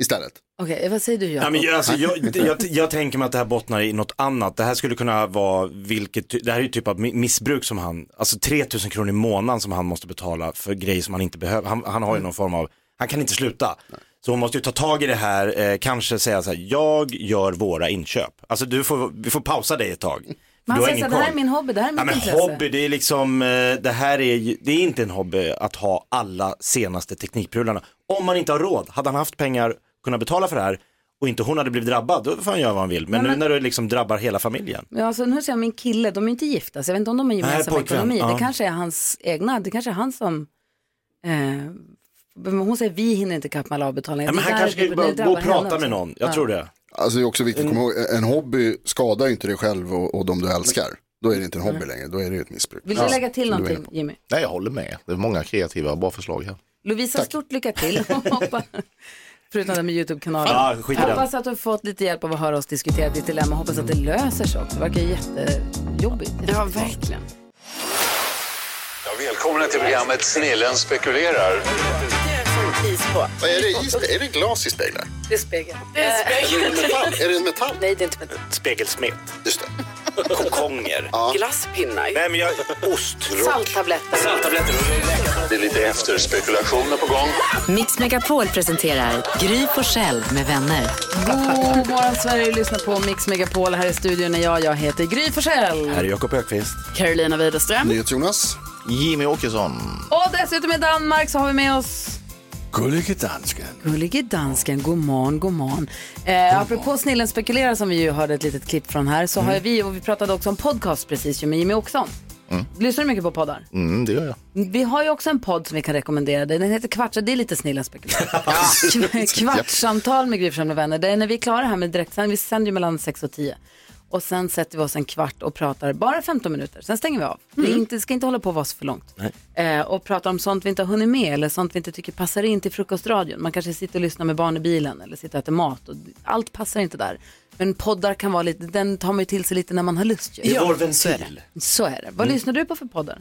istället.
Okej, vad säger du
Ja,
Jakob?
men jag, alltså, jag, jag, jag tänker mig att det här bottnar i något annat. Det här skulle kunna vara vilket, ty- det här är ju typ av mi- missbruk som han, alltså 3000 kronor i månaden som han måste betala för grejer som han inte behöver. Han, han har ju någon form av, han kan inte sluta. Så hon måste ju ta tag i det här, eh, kanske säga så här, jag gör våra inköp. Alltså du får, vi får pausa dig ett tag. Du
Man
har
säger
ingen
så här, det här
koll."
är min hobby, det här är mitt
Ja, men
intresse.
hobby, det är liksom, eh, det här är ju, det är inte en hobby att ha alla senaste teknikprylarna. Om man inte har råd, hade han haft pengar, kunnat betala för det här och inte hon hade blivit drabbad, då får han göra vad han vill. Men, nu när det liksom drabbar hela familjen.
Ja, alltså, nu ser jag min kille, de är ju inte gifta, så jag vet inte om de har gemensam
Nej, pojkvän,
ekonomi.
ja.
Det kanske är hans egna, det kanske är han som... Eh, men hon säger vi hinner inte kappa med alla avbetalningar.
Nej, men
Det
han
där- typ-
kanske
det
ska gå
drabbar
och prata
henne också.
med någon, jag
Ja.
tror det.
Alltså det är också viktigt att komma ihåg, en hobby skadar ju inte dig själv och, och de du älskar. Då är det inte en hobby längre, då är det ju ett missbruk.
Mm. Vill du lägga till någonting, Jimmy?
Nej, jag håller med. Det är många kreativa, bra förslag här.
Lovisa, stort lycka till. Hoppa- Förutom det med YouTube-kanalen.
Ja, skit i den.
Hoppas att du har fått lite hjälp av att höra oss diskutera ditt dilemma. Hoppas att det löser sig också. Det verkar jättejobbigt. Ja, verkligen.
Ja, välkomna till programmet Snillen spekulerar.
Vad är det i spe- Är det glas i speglar?
Det är spegel.
Det är spegel. Är det metall? Är det metall?
Nej, det är inte metall.
Spegelsmet.
Just
det. Kokonger.
Glasspinnar.
Nej, men jag... Ost.
Salttabletter.
Salttabletter.
Det är lite efterspekulationer på gång.
Mix Megapol presenterar Gry på själv med vänner.
God morgon Sverige, lyssna på Mix Megapol. Här i studion är jag, jag heter Gry Forssell.
Här är Jakob Ökvist.
Carolina Widerström.
Jonas.
Jimmy Åkesson.
Och dessutom i Danmark så har vi med oss
Gullige dansken.
Gullige dansken, god morgon, god morgon. Eh, apropå Snillen spekulerar som vi ju hörde ett litet klipp från här så har vi, och vi pratade också om podcast precis ju med Jimmy Åkesson.
Mm.
Lyssnar du mycket på poddar?
Mm, det gör jag.
Vi har ju också en podd som vi kan rekommendera dig. Den heter Kvartsa, det är lite snillen spekulerar. Kvartssamtal med Gry Forssell med vänner. Det är när vi är klara här med direktsändning, vi sänder ju mellan 6 och 10. Och sen sätter vi oss en kvart och pratar bara 15 minuter, sen stänger vi av. Det, är inte, det ska inte hålla på att vara så för långt. Eh, och pratar om sånt vi inte har hunnit med eller sånt vi inte tycker passar in till frukostradion. Man kanske sitter och lyssnar med barn i bilen eller sitter och äter mat. Och allt passar inte där. Men poddar kan vara lite, den tar man ju till sig lite när man har lust. Ju.
Det är vår ventil.
Så är det. Vad
Mm.
lyssnar du på för poddar?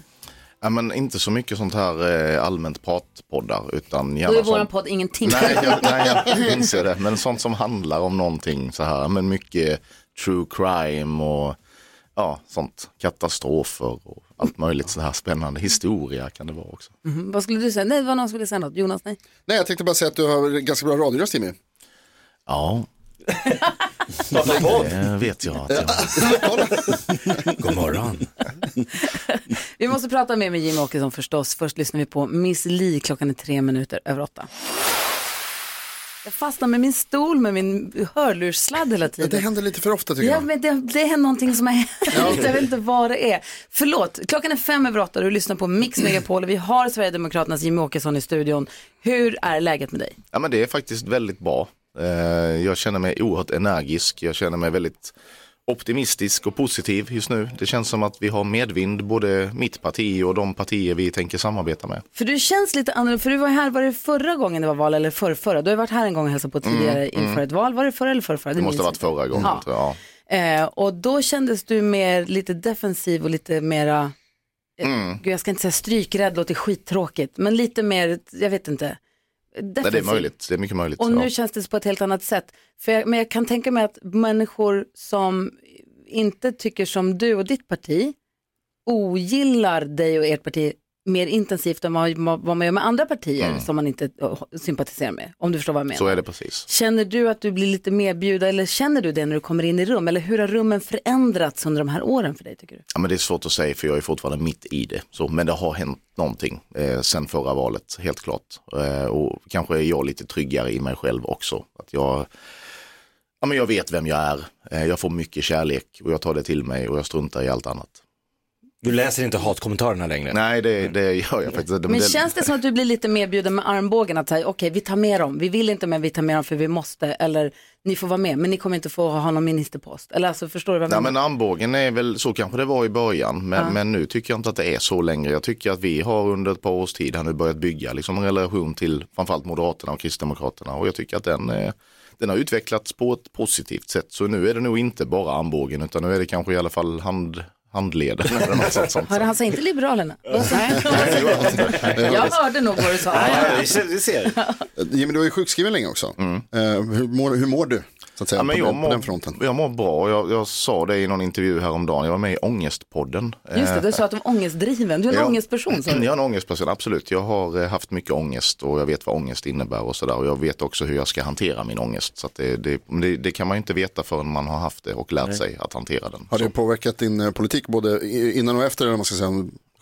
Ja, men inte så mycket sånt här eh, allmänt pratpoddar utan
Då är
gärna
våran
sånt.
podd ingenting.
Nej, jag, nej, jag inser det. Men sånt som handlar om någonting så här. Men mycket true crime och ja, sånt. Katastrofer och allt möjligt så här spännande. Historia kan det vara också.
Mhm, Vad skulle du säga? Nej, det var någon som skulle säga något. Jonas, nej.
Nej, jag tänkte bara säga att du har ganska bra radioröst Jimmy.
Ja.
Starta podd.
Det vet jag att jag God morgon.
Vi måste prata mer med Jimmy Åkesson förstås. Först lyssnar vi på Miss Li. Klockan är tre minuter över åtta. Jag fastnar med min stol med min hörlurssladd hela tiden.
Det händer lite för ofta tycker
ja,
jag.
Men det, det är någonting som har hänt. Jag vet inte vad det är. Förlåt, klockan är fem över åtta och du lyssnar på Mix Megapol och vi har Sverigedemokraternas Jimmie Åkesson i studion. Hur är läget med dig?
Ja, men det är faktiskt väldigt bra. Eh, Jag känner mig oerhört energisk. Jag känner mig väldigt optimistisk och positiv just nu. Det känns som att vi har medvind, både mitt parti och de partier vi tänker samarbeta med.
För du känns lite annorlunda, för du var här, var det förra gången det var val eller förrförra? Du har ju varit här en gång och hälsat på tidigare
Mm, mm.
inför ett val, var det förra eller förrförra?
Det måste ha
minns
varit
jag
förra gången.
Ja.
Tror jag. Ja.
inte. Eh, och då kändes du mer lite defensiv och lite mera, eh,
Mm.
gud jag ska inte säga strykrädd, låter skittråkigt, men lite mer, jag vet inte.
Nej, det är
defensiv.
möjligt, det är mycket möjligt.
Och
ja.
nu känns det på ett helt annat sätt. För jag, men jag kan tänka mig att människor som inte tycker som du och ditt parti ogillar dig och ert parti mer intensivt än vad vad man gör med andra partier
Mm.
som man inte eh, sympatiserar med. Om du förstår vad jag menar.
Så är det precis.
Känner du att du blir lite medbjuden eller känner du det när du kommer in i rum? Eller hur har rummen förändrats under de här åren för dig tycker du?
Ja, men det är svårt att säga för jag är fortfarande mitt i det. Så, men det har hänt någonting eh, sen förra valet, helt klart. Eh, och kanske är jag lite tryggare i mig själv också. Att jag, ja, men jag vet vem jag är, eh, jag får mycket kärlek och jag tar det till mig och jag struntar i allt annat.
Du läser inte hatkommentarerna längre?
Nej, det, det gör jag faktiskt inte.
Men känns det som att du blir lite medbjuden med armbågen att säga okej vi tar med dem, vi vill inte men vi tar med dem för vi måste eller ni får vara med men ni kommer inte få ha någon ministerpost. Eller alltså förstår du vad
Nej
jag
men
menar?
armbågen är väl, så kanske det var i början, men,
Ja.
men nu tycker jag inte att det är så längre. Jag tycker att vi har under ett par års tid här nu börjat bygga liksom en relation till framförallt Moderaterna och Kristdemokraterna och jag tycker att den, eh, den har utvecklats på ett positivt sätt. Så nu är det nog inte bara armbågen utan nu är det kanske i alla fall hand, handleden eller något sånt. sånt.
Hörde han säger inte Liberalerna?
Jag
jag hörde nog vad du sa.
vi ser.
Jimmy, du var ju sjukskriven länge också. Eh, hur, mår, hur mår du? Så att säga,
Mm. Ja,
på, den, på
men jag, mår,
den fronten.
jag mår bra, jag, jag sa det i någon intervju häromdagen, jag var med i Ångestpodden.
Just det,
Eh,
du sa att du var ångestdriven. Du är en
Ja.
ångestperson. sa
Jag
du.
är en ångestperson, absolut. Jag har eh, haft mycket ångest och jag vet vad ångest innebär och sådär. Och jag vet också hur jag ska hantera min ångest. Så att det, det, men det, det kan man ju inte veta förrän man har haft det och lärt
Nej.
sig att hantera den.
Har det påverkat din eh, politik både i- innan och efter, eller vad man ska säga,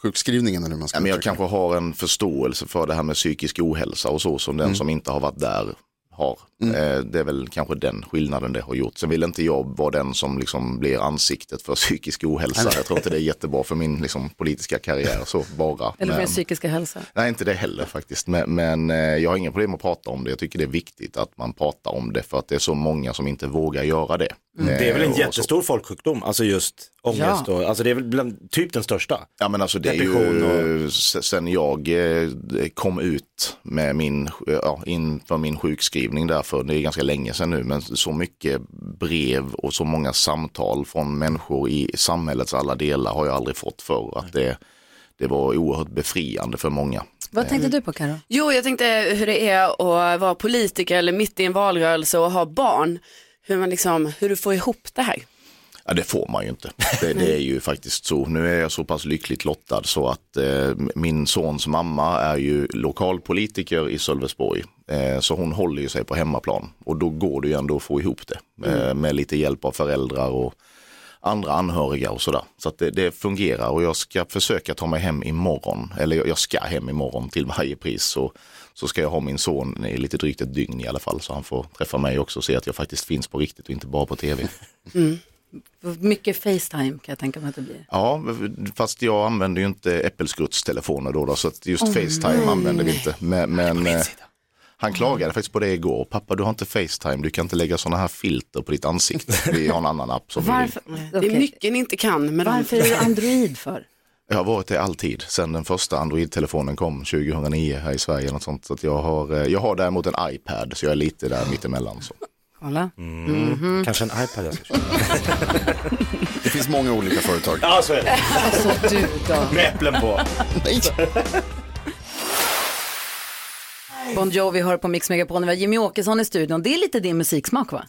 sjukskrivningen? Eller hur man ska
Ja, men jag
uttrycka det?
kanske har en förståelse för det här med psykisk ohälsa och så som den
Mm.
som inte har varit där har.
Mm.
Eh, Det är väl kanske den skillnaden det har gjort. Sen vill inte jag vara den som liksom blir ansiktet för psykisk ohälsa.
Nej.
Jag tror inte det är jättebra för min liksom, politiska karriär så bara.
Eller för
Men-
din psykiska hälsa.
Nej, inte det heller faktiskt. Men, men eh, jag har inga problem med att prata om det. Jag tycker det är viktigt att man pratar om det för att det är så många som inte vågar göra det.
Mm. Det är väl en
Eh, och
jättestor folksjukdom, alltså just ångest
Ja.
och, alltså det är väl bland, typ den största.
Ja men alltså det är
Depression
ju s- sen jag eh, kom ut med min, eh, ja, inför min sjukskrivning därför, det är ganska länge sedan nu, men så mycket brev och så många samtal från människor i samhällets alla delar har jag aldrig fått för att det, det var oerhört befriande för många.
Vad tänkte du på Karo?
Jo, jag tänkte hur det är att vara politiker eller mitt i en valrörelse och ha barn. Hur, man liksom, hur du får ihop det här.
Ja, det får man ju inte. Det, det är ju faktiskt så. Nu är jag så pass lyckligt lottad så att eh, min sons mamma är ju lokalpolitiker i Sölvesborg. Eh, så hon håller ju sig på hemmaplan och då går det ju ändå att få ihop det eh, med lite hjälp av föräldrar och andra anhöriga och sådär. Så att det, det fungerar och jag ska försöka ta mig hem imorgon, eller jag- jag ska hem imorgon till varje pris. Så, så ska jag ha min son i lite drygt ett dygn i alla fall så han får träffa mig också och se att jag faktiskt finns på riktigt och inte bara på tv.
Mm. Mycket Facetime kan jag tänka mig att det blir.
Ja, fast jag använder ju inte äppelskruttstelefoner då, då så att just
Åh,
Facetime
nej.
använder vi inte. Men, men eh, han klagade faktiskt på det igår. Pappa, du har inte Facetime, du kan inte lägga sådana här filter på ditt ansikte. Vi har en annan app som vi vill.
Mm. Det är mycket ni inte kan. Men
Mm, Varför är du Android för?
Jag har varit det alltid, sedan den första Android-telefonen kom 2009 här i Sverige. Något sånt. Så att jag, har, eh, jag har däremot en iPad, så jag är lite där mittemellan. Så.
Kolla.
Mm. Kanske en iPad alltså. jag ska köpa.
Det finns många olika företag.
Ja, så är det.
Alltså du då.
Med äpplen på.
Nej.
Bon Jovi hör på Mix Megapol när vi har Jimmy Åkesson i studion. Det är lite din musiksmak va?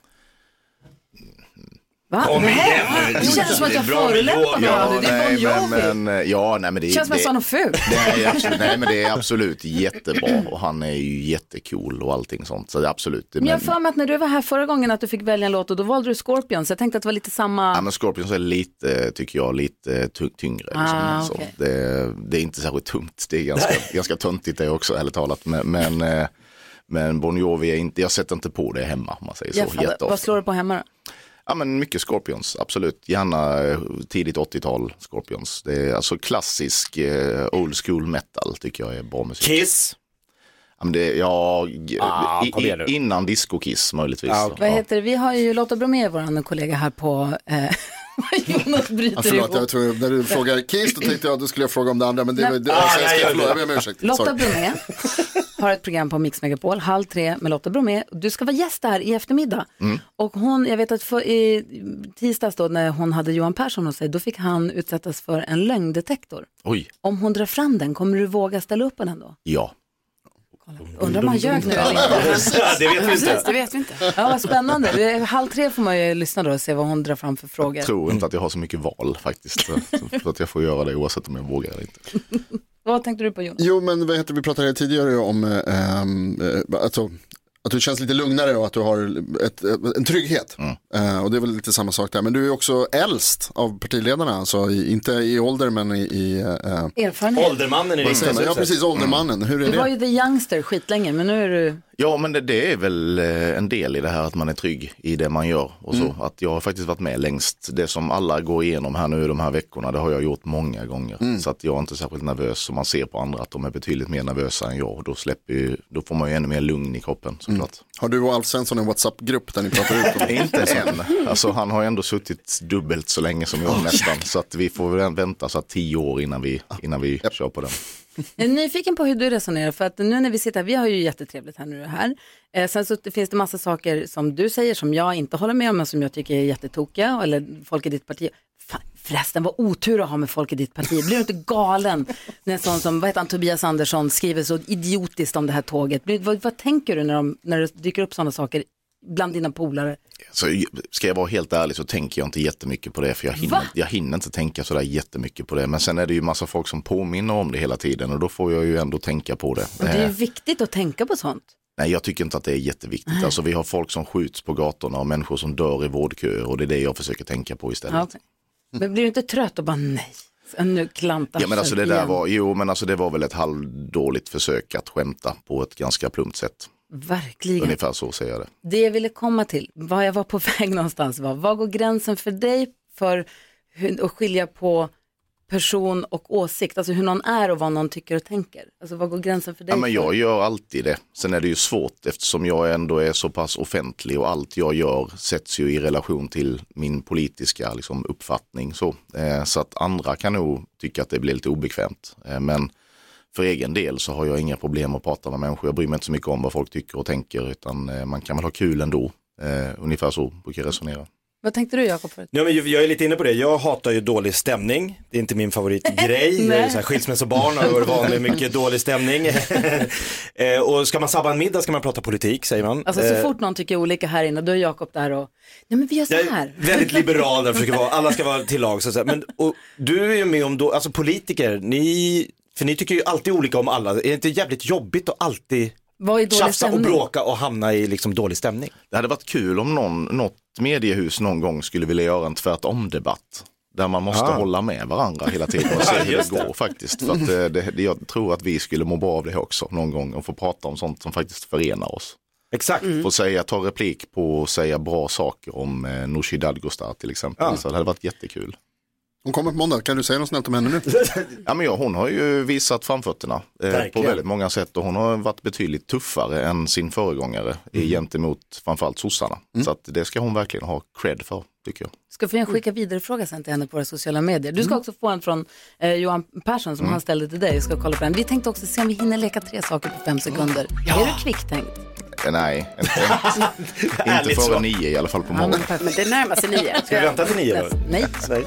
Va?
Kom igen
Nej,
nu!
Det känns som att
Det
jag
är bra med
förolämpar
låg.
varandra. Det är Bon Jovi.
nej, men, men, eh, ja, nej, men det
Det känns som att jag
det-
sa något fult.
Nej, absolut, nej men det är absolut jättebra och han är ju jättecool och allting sånt. Så det är absolut. det-
Men jag har
Men,
för mig att när du var här förra gången att du fick välja en låt och då valde du Scorpions. Jag tänkte att det var lite
ja,
samma.
men Scorpions är lite, tycker jag, lite ty- tyngre. Liksom.
Ah,
så
okej.
det, det är inte särskilt tungt, det är ganska, ganska töntigt det också ärligt talat. Men, men, eh, Men Bon Jovi, är inte, jag sätter inte på det hemma om man säger
Jag
så.
fattar.
Jätteofta.
Vad slår du på hemma då?
Ja men mycket Scorpions, absolut. Gärna eh, tidigt 80-tal Scorpions. Det är alltså klassisk eh, old school metal tycker jag är bra musik.
Kiss?
Ja, men det, ja g-
Ah,
i,
kom igen nu. Ah,
i, innan disco Kiss möjligtvis.
Vad heter det? Vi har ju Lotta Bromé, vår kollega här på... Eh, Jonas bryter
Ja, förlåt,
ihop.
jag tror, när du frågar Kiss då tänkte jag att du skulle jag fråga om det andra. Men det,
Nej.
det, det,
Ah,
alltså, jag,
nej,
ska,
jag
förlåt, jag
vet.
ber om ursäkt.
Lotta
Sorry.
Bromé har ett program på Mix Megapol, halv tre med Lotta Bromé. Du ska vara gäst där i eftermiddag.
Mm.
Och hon, jag vet att för, i tisdags då när hon hade Johan Persson hos sig, då fick han utsättas för en lögndetektor.
Oj,
Om hon drar fram den, kommer du våga ställa upp på den då?
ja.
Undrar om han ljög nu eller inte.
Ja, det vet vi inte.
Det vet vi inte. Ja, vad spännande. Det är- Halv tre får man ju lyssna då och se vad hon drar fram för frågor.
Jag tror inte att jag har så mycket val faktiskt. Så, så att jag får göra det oavsett om jag vågar eller inte.
Vad tänkte du på Jonas?
Jo, men vad heter, vi pratade här tidigare om eh, ehm, eh, alltså, att du känns lite lugnare och att du har ett, eh, en trygghet.
Mm.
Eh, och det är väl lite samma sak där. Men du är också äldst av partiledarna, alltså i, inte i ålder men i... i eh,
Erfarenhet.
Åldermannen
Vad säger man? Ja, precis, åldermannen. Hur är
Du var
det?
ju the youngster skitlänge, men nu är du...
Ja men det, det är väl eh, en del i det här att man är trygg i det man gör och så.
Mm.
Att jag har faktiskt varit med längst. Det som alla går igenom här nu de här veckorna det har jag gjort många gånger. Så att jag är inte särskilt nervös och man ser på andra att de är betydligt mer nervösa än jag. Och då, släpper ju, då får man ju ännu mer lugn i kroppen såklart.
Har du och Alf Svensson en WhatsApp-grupp där ni pratar ut om
Inte än. Alltså han har ändå suttit dubbelt så länge som jag nästan. Så att vi får väl vänta så att tio år innan vi, innan vi kör på den.
Jag är nyfiken på hur du resonerar, för att nu när vi sitter här, vi har ju jättetrevligt här nu det här. Eh, sen så finns det massa saker som du säger som jag inte håller med om, men som jag tycker är jättetokiga, eller folk i ditt parti. Fan, förresten, vad otur att ha med folk i ditt parti. Blir du inte galen när en sån som, vad heter han, Tobias Andersson skriver så idiotiskt om det här tåget? Blir, vad, vad tänker du när, de, när det dyker upp sådana saker bland dina polare?
Så ska jag vara helt ärlig så tänker jag inte jättemycket på det för jag hinner,
Va?
jag hinner inte tänka sådär jättemycket på det. Men sen är det ju massa folk som påminner om det hela tiden och då får jag ju ändå tänka på det.
Och det är
Eh,
ju viktigt att tänka på sånt.
Nej, jag tycker inte att det är jätteviktigt.
Nej.
Alltså, vi har folk som skjuts på gatorna och människor som dör i vårdköer och det är det jag försöker tänka på istället.
Ja, okej. Men blir du inte trött och bara nej, nu klantar
Ja men alltså det där
igen.
var, jo men alltså det var väl ett halvdåligt försök att skämta på ett ganska plumpt sätt.
Verkligen.
Ungefär så säger jag det.
Det jag ville komma till, vad jag var på väg någonstans var, vad går gränsen för dig för hur, att skilja på person och åsikt, alltså hur någon är och vad någon tycker och tänker. Alltså vad går gränsen för dig?
Ja, men
för?
jag gör alltid det. Sen är det ju svårt eftersom jag ändå är så pass offentlig och allt jag gör sätts ju i relation till min politiska liksom, uppfattning. Så, eh, så att andra kan nog tycka att det blir lite obekvämt. Eh, men för egen del så har jag inga problem att prata med människor. Jag bryr mig inte så mycket om vad folk tycker och tänker utan eh, man kan väl ha kul ändå. Eh, ungefär så brukar jag resonera.
Vad tänkte du Jakob? förut?
Ja, men jag jag är lite inne på det, jag hatar ju dålig stämning. Det är inte min favoritgrej. jag är ju så här skilsmässobarn och har varit van vid mycket dålig stämning. Eh, och ska man sabba en middag ska man prata politik säger man.
Alltså så
Eh,
fort någon tycker olika här inne, då är Jakob där och, nej men vi gör så
Jag
här.
är väldigt liberal, jag försöker vara, alla ska vara till lag. Så att säga. Men, och, du är ju med om, då, alltså politiker, ni, för ni tycker ju alltid olika om alla. Är det inte jävligt jobbigt att alltid
Vad är dålig
tjafsa och
stämning?
bråka och hamna i liksom dålig stämning?
Det hade varit kul om någon, något mediehus någon gång skulle vilja göra en tvärtom-debatt. Där man måste
Ah.
hålla med varandra hela tiden och se hur det
Just det.
går faktiskt. För att, eh, det, det, jag tror att vi skulle må bra av det också någon gång och få prata om sånt som faktiskt förenar oss.
Exakt. Mm.
Få säga, ta replik på och säga bra saker om eh, Nooshi Dadgostar till exempel.
Ja.
Så det hade varit jättekul.
Hon kommer på måndag, kan du säga något snällt om henne nu?
Ja, men ja, hon har ju visat framfötterna eh, på
Verkligen.
väldigt många sätt och hon har varit betydligt tuffare än sin föregångare mm. gentemot framförallt sossarna.
Mm.
Så att det ska hon verkligen ha cred för tycker jag.
Ska få en skicka vidare fråga sen till henne på våra sociala medier. Du ska
Mm.
också få en från eh, Johan Persson som han ställde till dig. Jag ska kolla på den. Vi tänkte också se om vi hinner leka tre saker på fem sekunder. Är du kvicktänkt?
Eh, Nej, inte, inte
Ärligt svar.
före nio i alla fall på morgonen.
Men det närmar sig nio.
Ska vi vänta till nio då?
Nej.
Nej.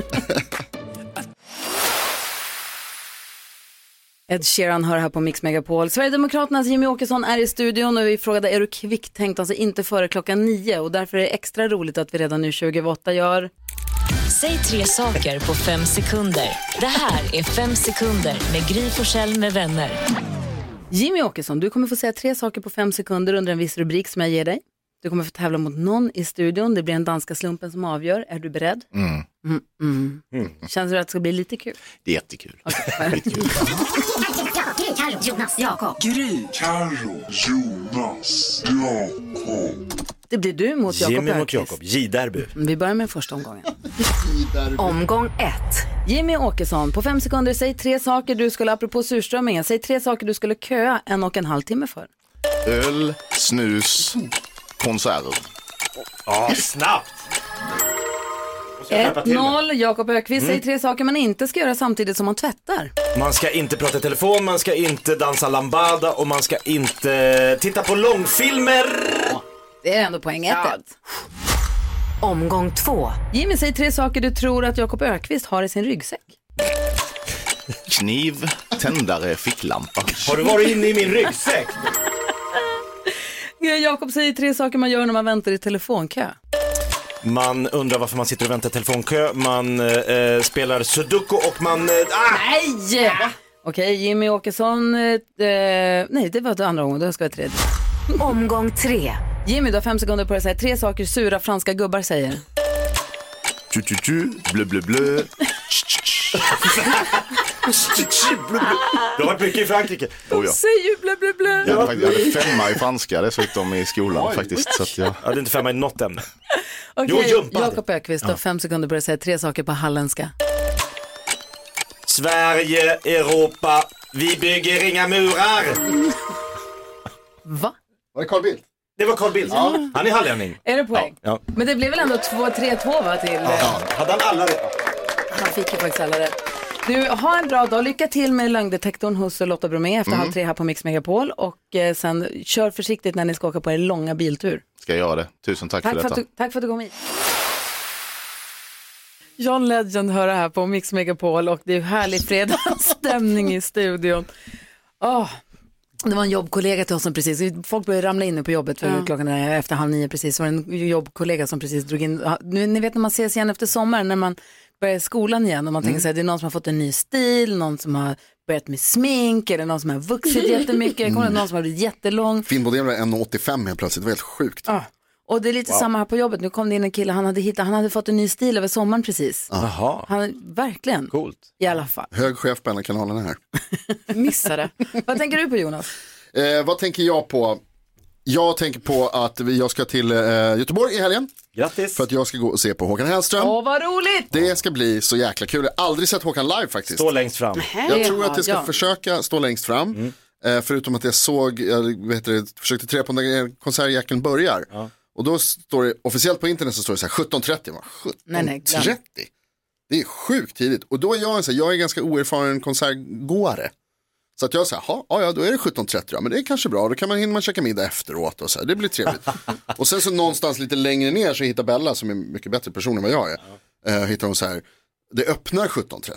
Ed Sheeran hör här på Mix Megapol. Sverigedemokraternas Jimmy Åkesson är i studion och vi frågade är du kvicktänkt, alltså inte före klockan nio och därför är det extra roligt att vi redan nu 20.08 gör
Säg tre saker på fem sekunder. Det här är Fem sekunder med Gry Forssell med vänner.
Jimmy Åkesson, du kommer få säga tre saker på fem sekunder under en viss rubrik som jag ger dig. Du Du kommer få tävla mot någon i studion. Det blir den danska slumpen som avgör. Är du beredd?
Mm.
Mm, mm. Känns det att det ska bli lite kul?
Det är jättekul.
Gry, Carro, Jonas, Jakob. Gry, Carro, Jonas, Jakob.
Det blir du mot Jakob
Jimmy mot
Öqvist.
Jakob, J-derby.
Vi börjar med första omgången. Omgång ett. Jimmy Åkesson, på fem sekunder, säg tre saker du skulle, apropå surströmmingen, säg tre saker du skulle köa en och en halv timme för.
Öl, snus, konserter.
Ja, snabbt!
1-0, Jakob Ökvist,
Mm.
säg tre saker man inte ska göra samtidigt som man tvättar.
Man ska inte prata i telefon, man ska inte dansa lambada och man ska inte titta på långfilmer.
Det är ändå poäng 1
Omgång två.
Jimmy, säg tre saker du tror att Jakob Ökvist har i sin ryggsäck.
Kniv, tändare, ficklampa.
Har du varit inne i min ryggsäck?
Jakob, säg tre saker man gör när man väntar i telefonkö.
Man undrar varför man sitter och väntar i telefonkö, man eh, spelar sudoku och man... Eh, ah!
Nej! Okej, Jimmy Åkesson. Eh, eh, nej, det var det andra omgången. Det ska vara tredje. Omgång tre. Jimmy, du har fem sekunder på dig att säga tre saker sura franska gubbar säger.
Tu, tu, tu, blö, blö, blö.
Du har varit mycket i Frankrike.
Oh, ja.
Säg ju blö, blö, blö.
Jag hade, fakt- jag hade femma i franska dessutom i skolan
Oj.
faktiskt. Så att jag...
Jag hade inte femma i något ämne. Jo,
Okej,
jumpad.
Jakob Ökvist, du har fem sekunder på dig att säga tre saker på halländska.
Sverige, Europa, vi bygger inga murar.
Va?
Var det Carl Bildt? Det var Carl Bildt.
Ja.
Han är hallänning.
Är det poäng?
Ja.
Men det blev väl ändå 2-3-2 va? Till, eh,
Ja. Hade han alla det?
Han fick ju faktiskt alla rätt. Du, ha en bra dag. Lycka till med lögndetektorn hos Lotta Bromé efter
Mm.
halv tre här på Mix Megapol. Och eh, sen kör försiktigt när ni ska åka på er långa biltur.
Ska jag göra det? Tusen tack, för
Tack för, att
detta.
du, tack för att du kom hit. John Legend hör det här på Mix Megapol och det är härlig fredagsstämning i studion. Åh, Det var en jobbkollega till oss som precis, folk började ramla in nu på jobbet för
Ja.
klockan är efter halv nio precis, var det en jobbkollega som precis drog in, ja, nu, ni vet när man ses igen efter sommaren när man börjar skolan igen och man tänker
Mm.
så här, det är någon som har fått en ny stil, någon som har börjat med smink, eller någon som har vuxit jättemycket,
Mm.
kommer det någon som har blivit jättelång.
Finnboden var 1,85 helt plötsligt, det var helt sjukt.
Ja. Och det är lite
Wow.
samma här på jobbet. Nu kom det in en kille, han hade, hittat, han hade fått en ny stil över sommaren precis.
Aha.
Han, verkligen.
Coolt.
I alla fall.
Hög chef på en av kanalerna här.
Missade. Vad tänker du på Jonas?
Eh, vad tänker jag på? Jag tänker på att vi- jag ska till eh, Göteborg i helgen.
Grattis.
För att jag ska gå och se på Håkan Hellström.
Åh, vad roligt!
Det ska bli så jäkla kul. Jag har aldrig sett Håkan live faktiskt. Stå
längst fram. Mm.
Jag tror att jag ska
Ja.
försöka stå längst fram. Eh, förutom att jag såg, jag vet det, försökte trä på när konsertjackan börjar. Och då står det, officiellt på internet så står det så här 17.30. Jag bara,
Nej, nej, glöm.
17.30? Det är sjukt tidigt. Och då är jag en så här, jag är ganska oerfaren konsertgåare. Så att jag säger, ja ja då är det 17.30 ja, men det är kanske bra, då kan man hinna man käka middag efteråt och så här, det blir trevligt. och sen så någonstans lite längre ner så hittar Bella, som är en mycket bättre person än vad jag är, eh, hittar hon så här, det öppnar 17.30.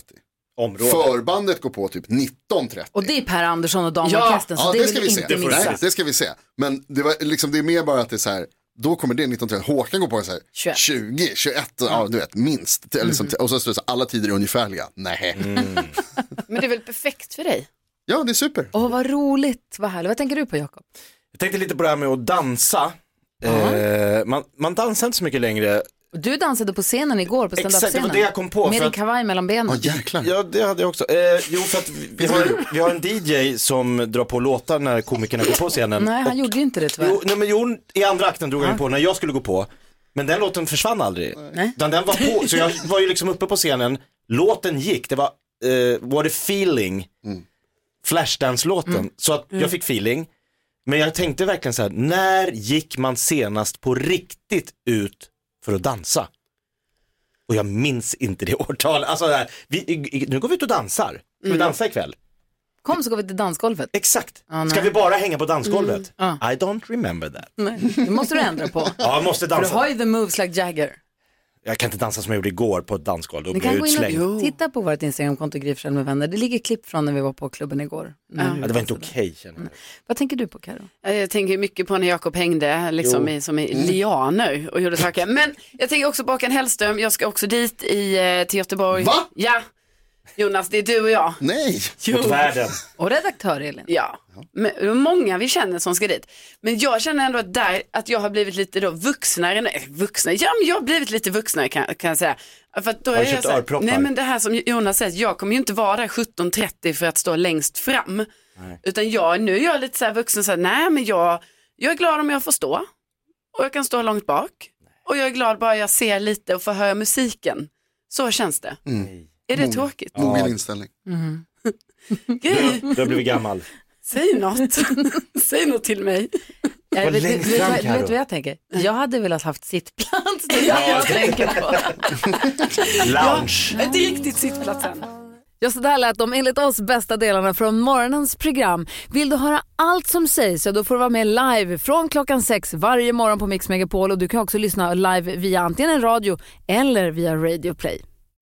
Området.
Förbandet går på typ 19.30.
Och det är Per Andersson och damorkestern, så
ja,
det,
det
vill
ska
vi
vi
inte
se.
missa.
Nej, det ska vi se. Men det, var, liksom, det är mer bara att det är så här, då kommer det 19.30, Håkan går på så här,
21.
20, 21, ja,
Mm.
du vet, minst. Eller Liksom, Och så står det så här, alla tider är ungefärliga. Nej.
Men det är väl perfekt för dig?
Ja, det är super.
Åh, vad roligt, vad härligt. Vad tänker du på Jakob?
Jag tänkte lite på det här med att dansa. Eh, man, man dansar inte så mycket längre.
Du dansade på scenen igår, på
Exakt, det var
standup-scenen.
det jag kom på,
Med
för
din
att-
kavaj mellan benen.
Ja, det hade jag också. Eh, jo, för att vi, vi, har, vi har en DJ som drar på låtar när komikerna går på scenen.
Nej, han
Och-
gjorde ju inte det tyvärr.
Jo, nej, men jo, i andra akten drog han ju på när jag skulle gå på. Men den låten försvann aldrig. Utan den var på, så jag var ju liksom uppe på scenen, låten gick, det var eh, What a feeling, Flashdance-låten. Så att
Mm.
jag fick feeling. Men jag tänkte verkligen så här, när gick man senast på riktigt ut för att dansa? Och jag minns inte det årtalet. Alltså, det här, vi, i- i- nu går vi ut och dansar. Ska vi
Mm.
dansa ikväll?
Kom så går vi till dansgolvet.
Exakt.
Ja, nej.
Ska vi bara hänga på dansgolvet?
Mm.
I don't remember that.
Nej, det måste du ändra på.
Ja, jag måste
För du
dansa.
har ju the moves like Jagger.
Jag kan inte dansa som jag gjorde igår på ett dansgolv, då
Ni
blir jag
kan gå in
utslängd.
och titta på vårt Instagramkonto Gry Forssell med vänner. Det ligger klipp från när vi var på klubben igår. Mm.
Ja, det var inte okej känner jag.
Vad tänker du på Karo?
Eh, Jag tänker mycket på när Jakob hängde liksom,
Jo.
i, som i lianer och gjorde saker. Men jag tänker också på Håkan Hellström, jag ska också dit i, eh, till Göteborg. Va? Ja, Jonas, det är du och jag.
Nej,
Jo. mot världen.
Och redaktör Elin.
Ja, men, det är många vi känner som ska dit. Men jag känner ändå att, där, att jag har blivit lite då vuxnare, nej, vuxnare, ja men jag har blivit lite vuxnare kan, kan jag säga. För att då
Har du
är jag
köpt
så här-
örproppar?
Nej men det här som Jonas säger, jag kommer ju inte vara där 17.30 för att stå längst fram. Utan jag, nu är jag lite så här vuxen, så här, nej men jag, jag är glad om jag får stå. Och jag kan stå långt bak. Och jag är glad bara jag ser lite och får höra musiken. Så känns det.
Mm.
Är det tråkigt?
Mogen inställning.
Du, du har blivit gammal.
Säg något. Säg något till mig.
Jag
Vad
Eh, vet, vet,
längst
vet,
fram,
vet,
Karo.
vet vad jag tänker? Jag hade velat haft sittplats. Det är det jag tänker på.
Lounge.
Inte riktigt sittplatsen.
Ja, så där lät de enligt oss bästa delarna från morgonens program. Vill du höra allt som sägs så då får du vara med live från klockan sex varje morgon på Mix Megapol och du kan också lyssna live via antingen en radio eller via Radio Play.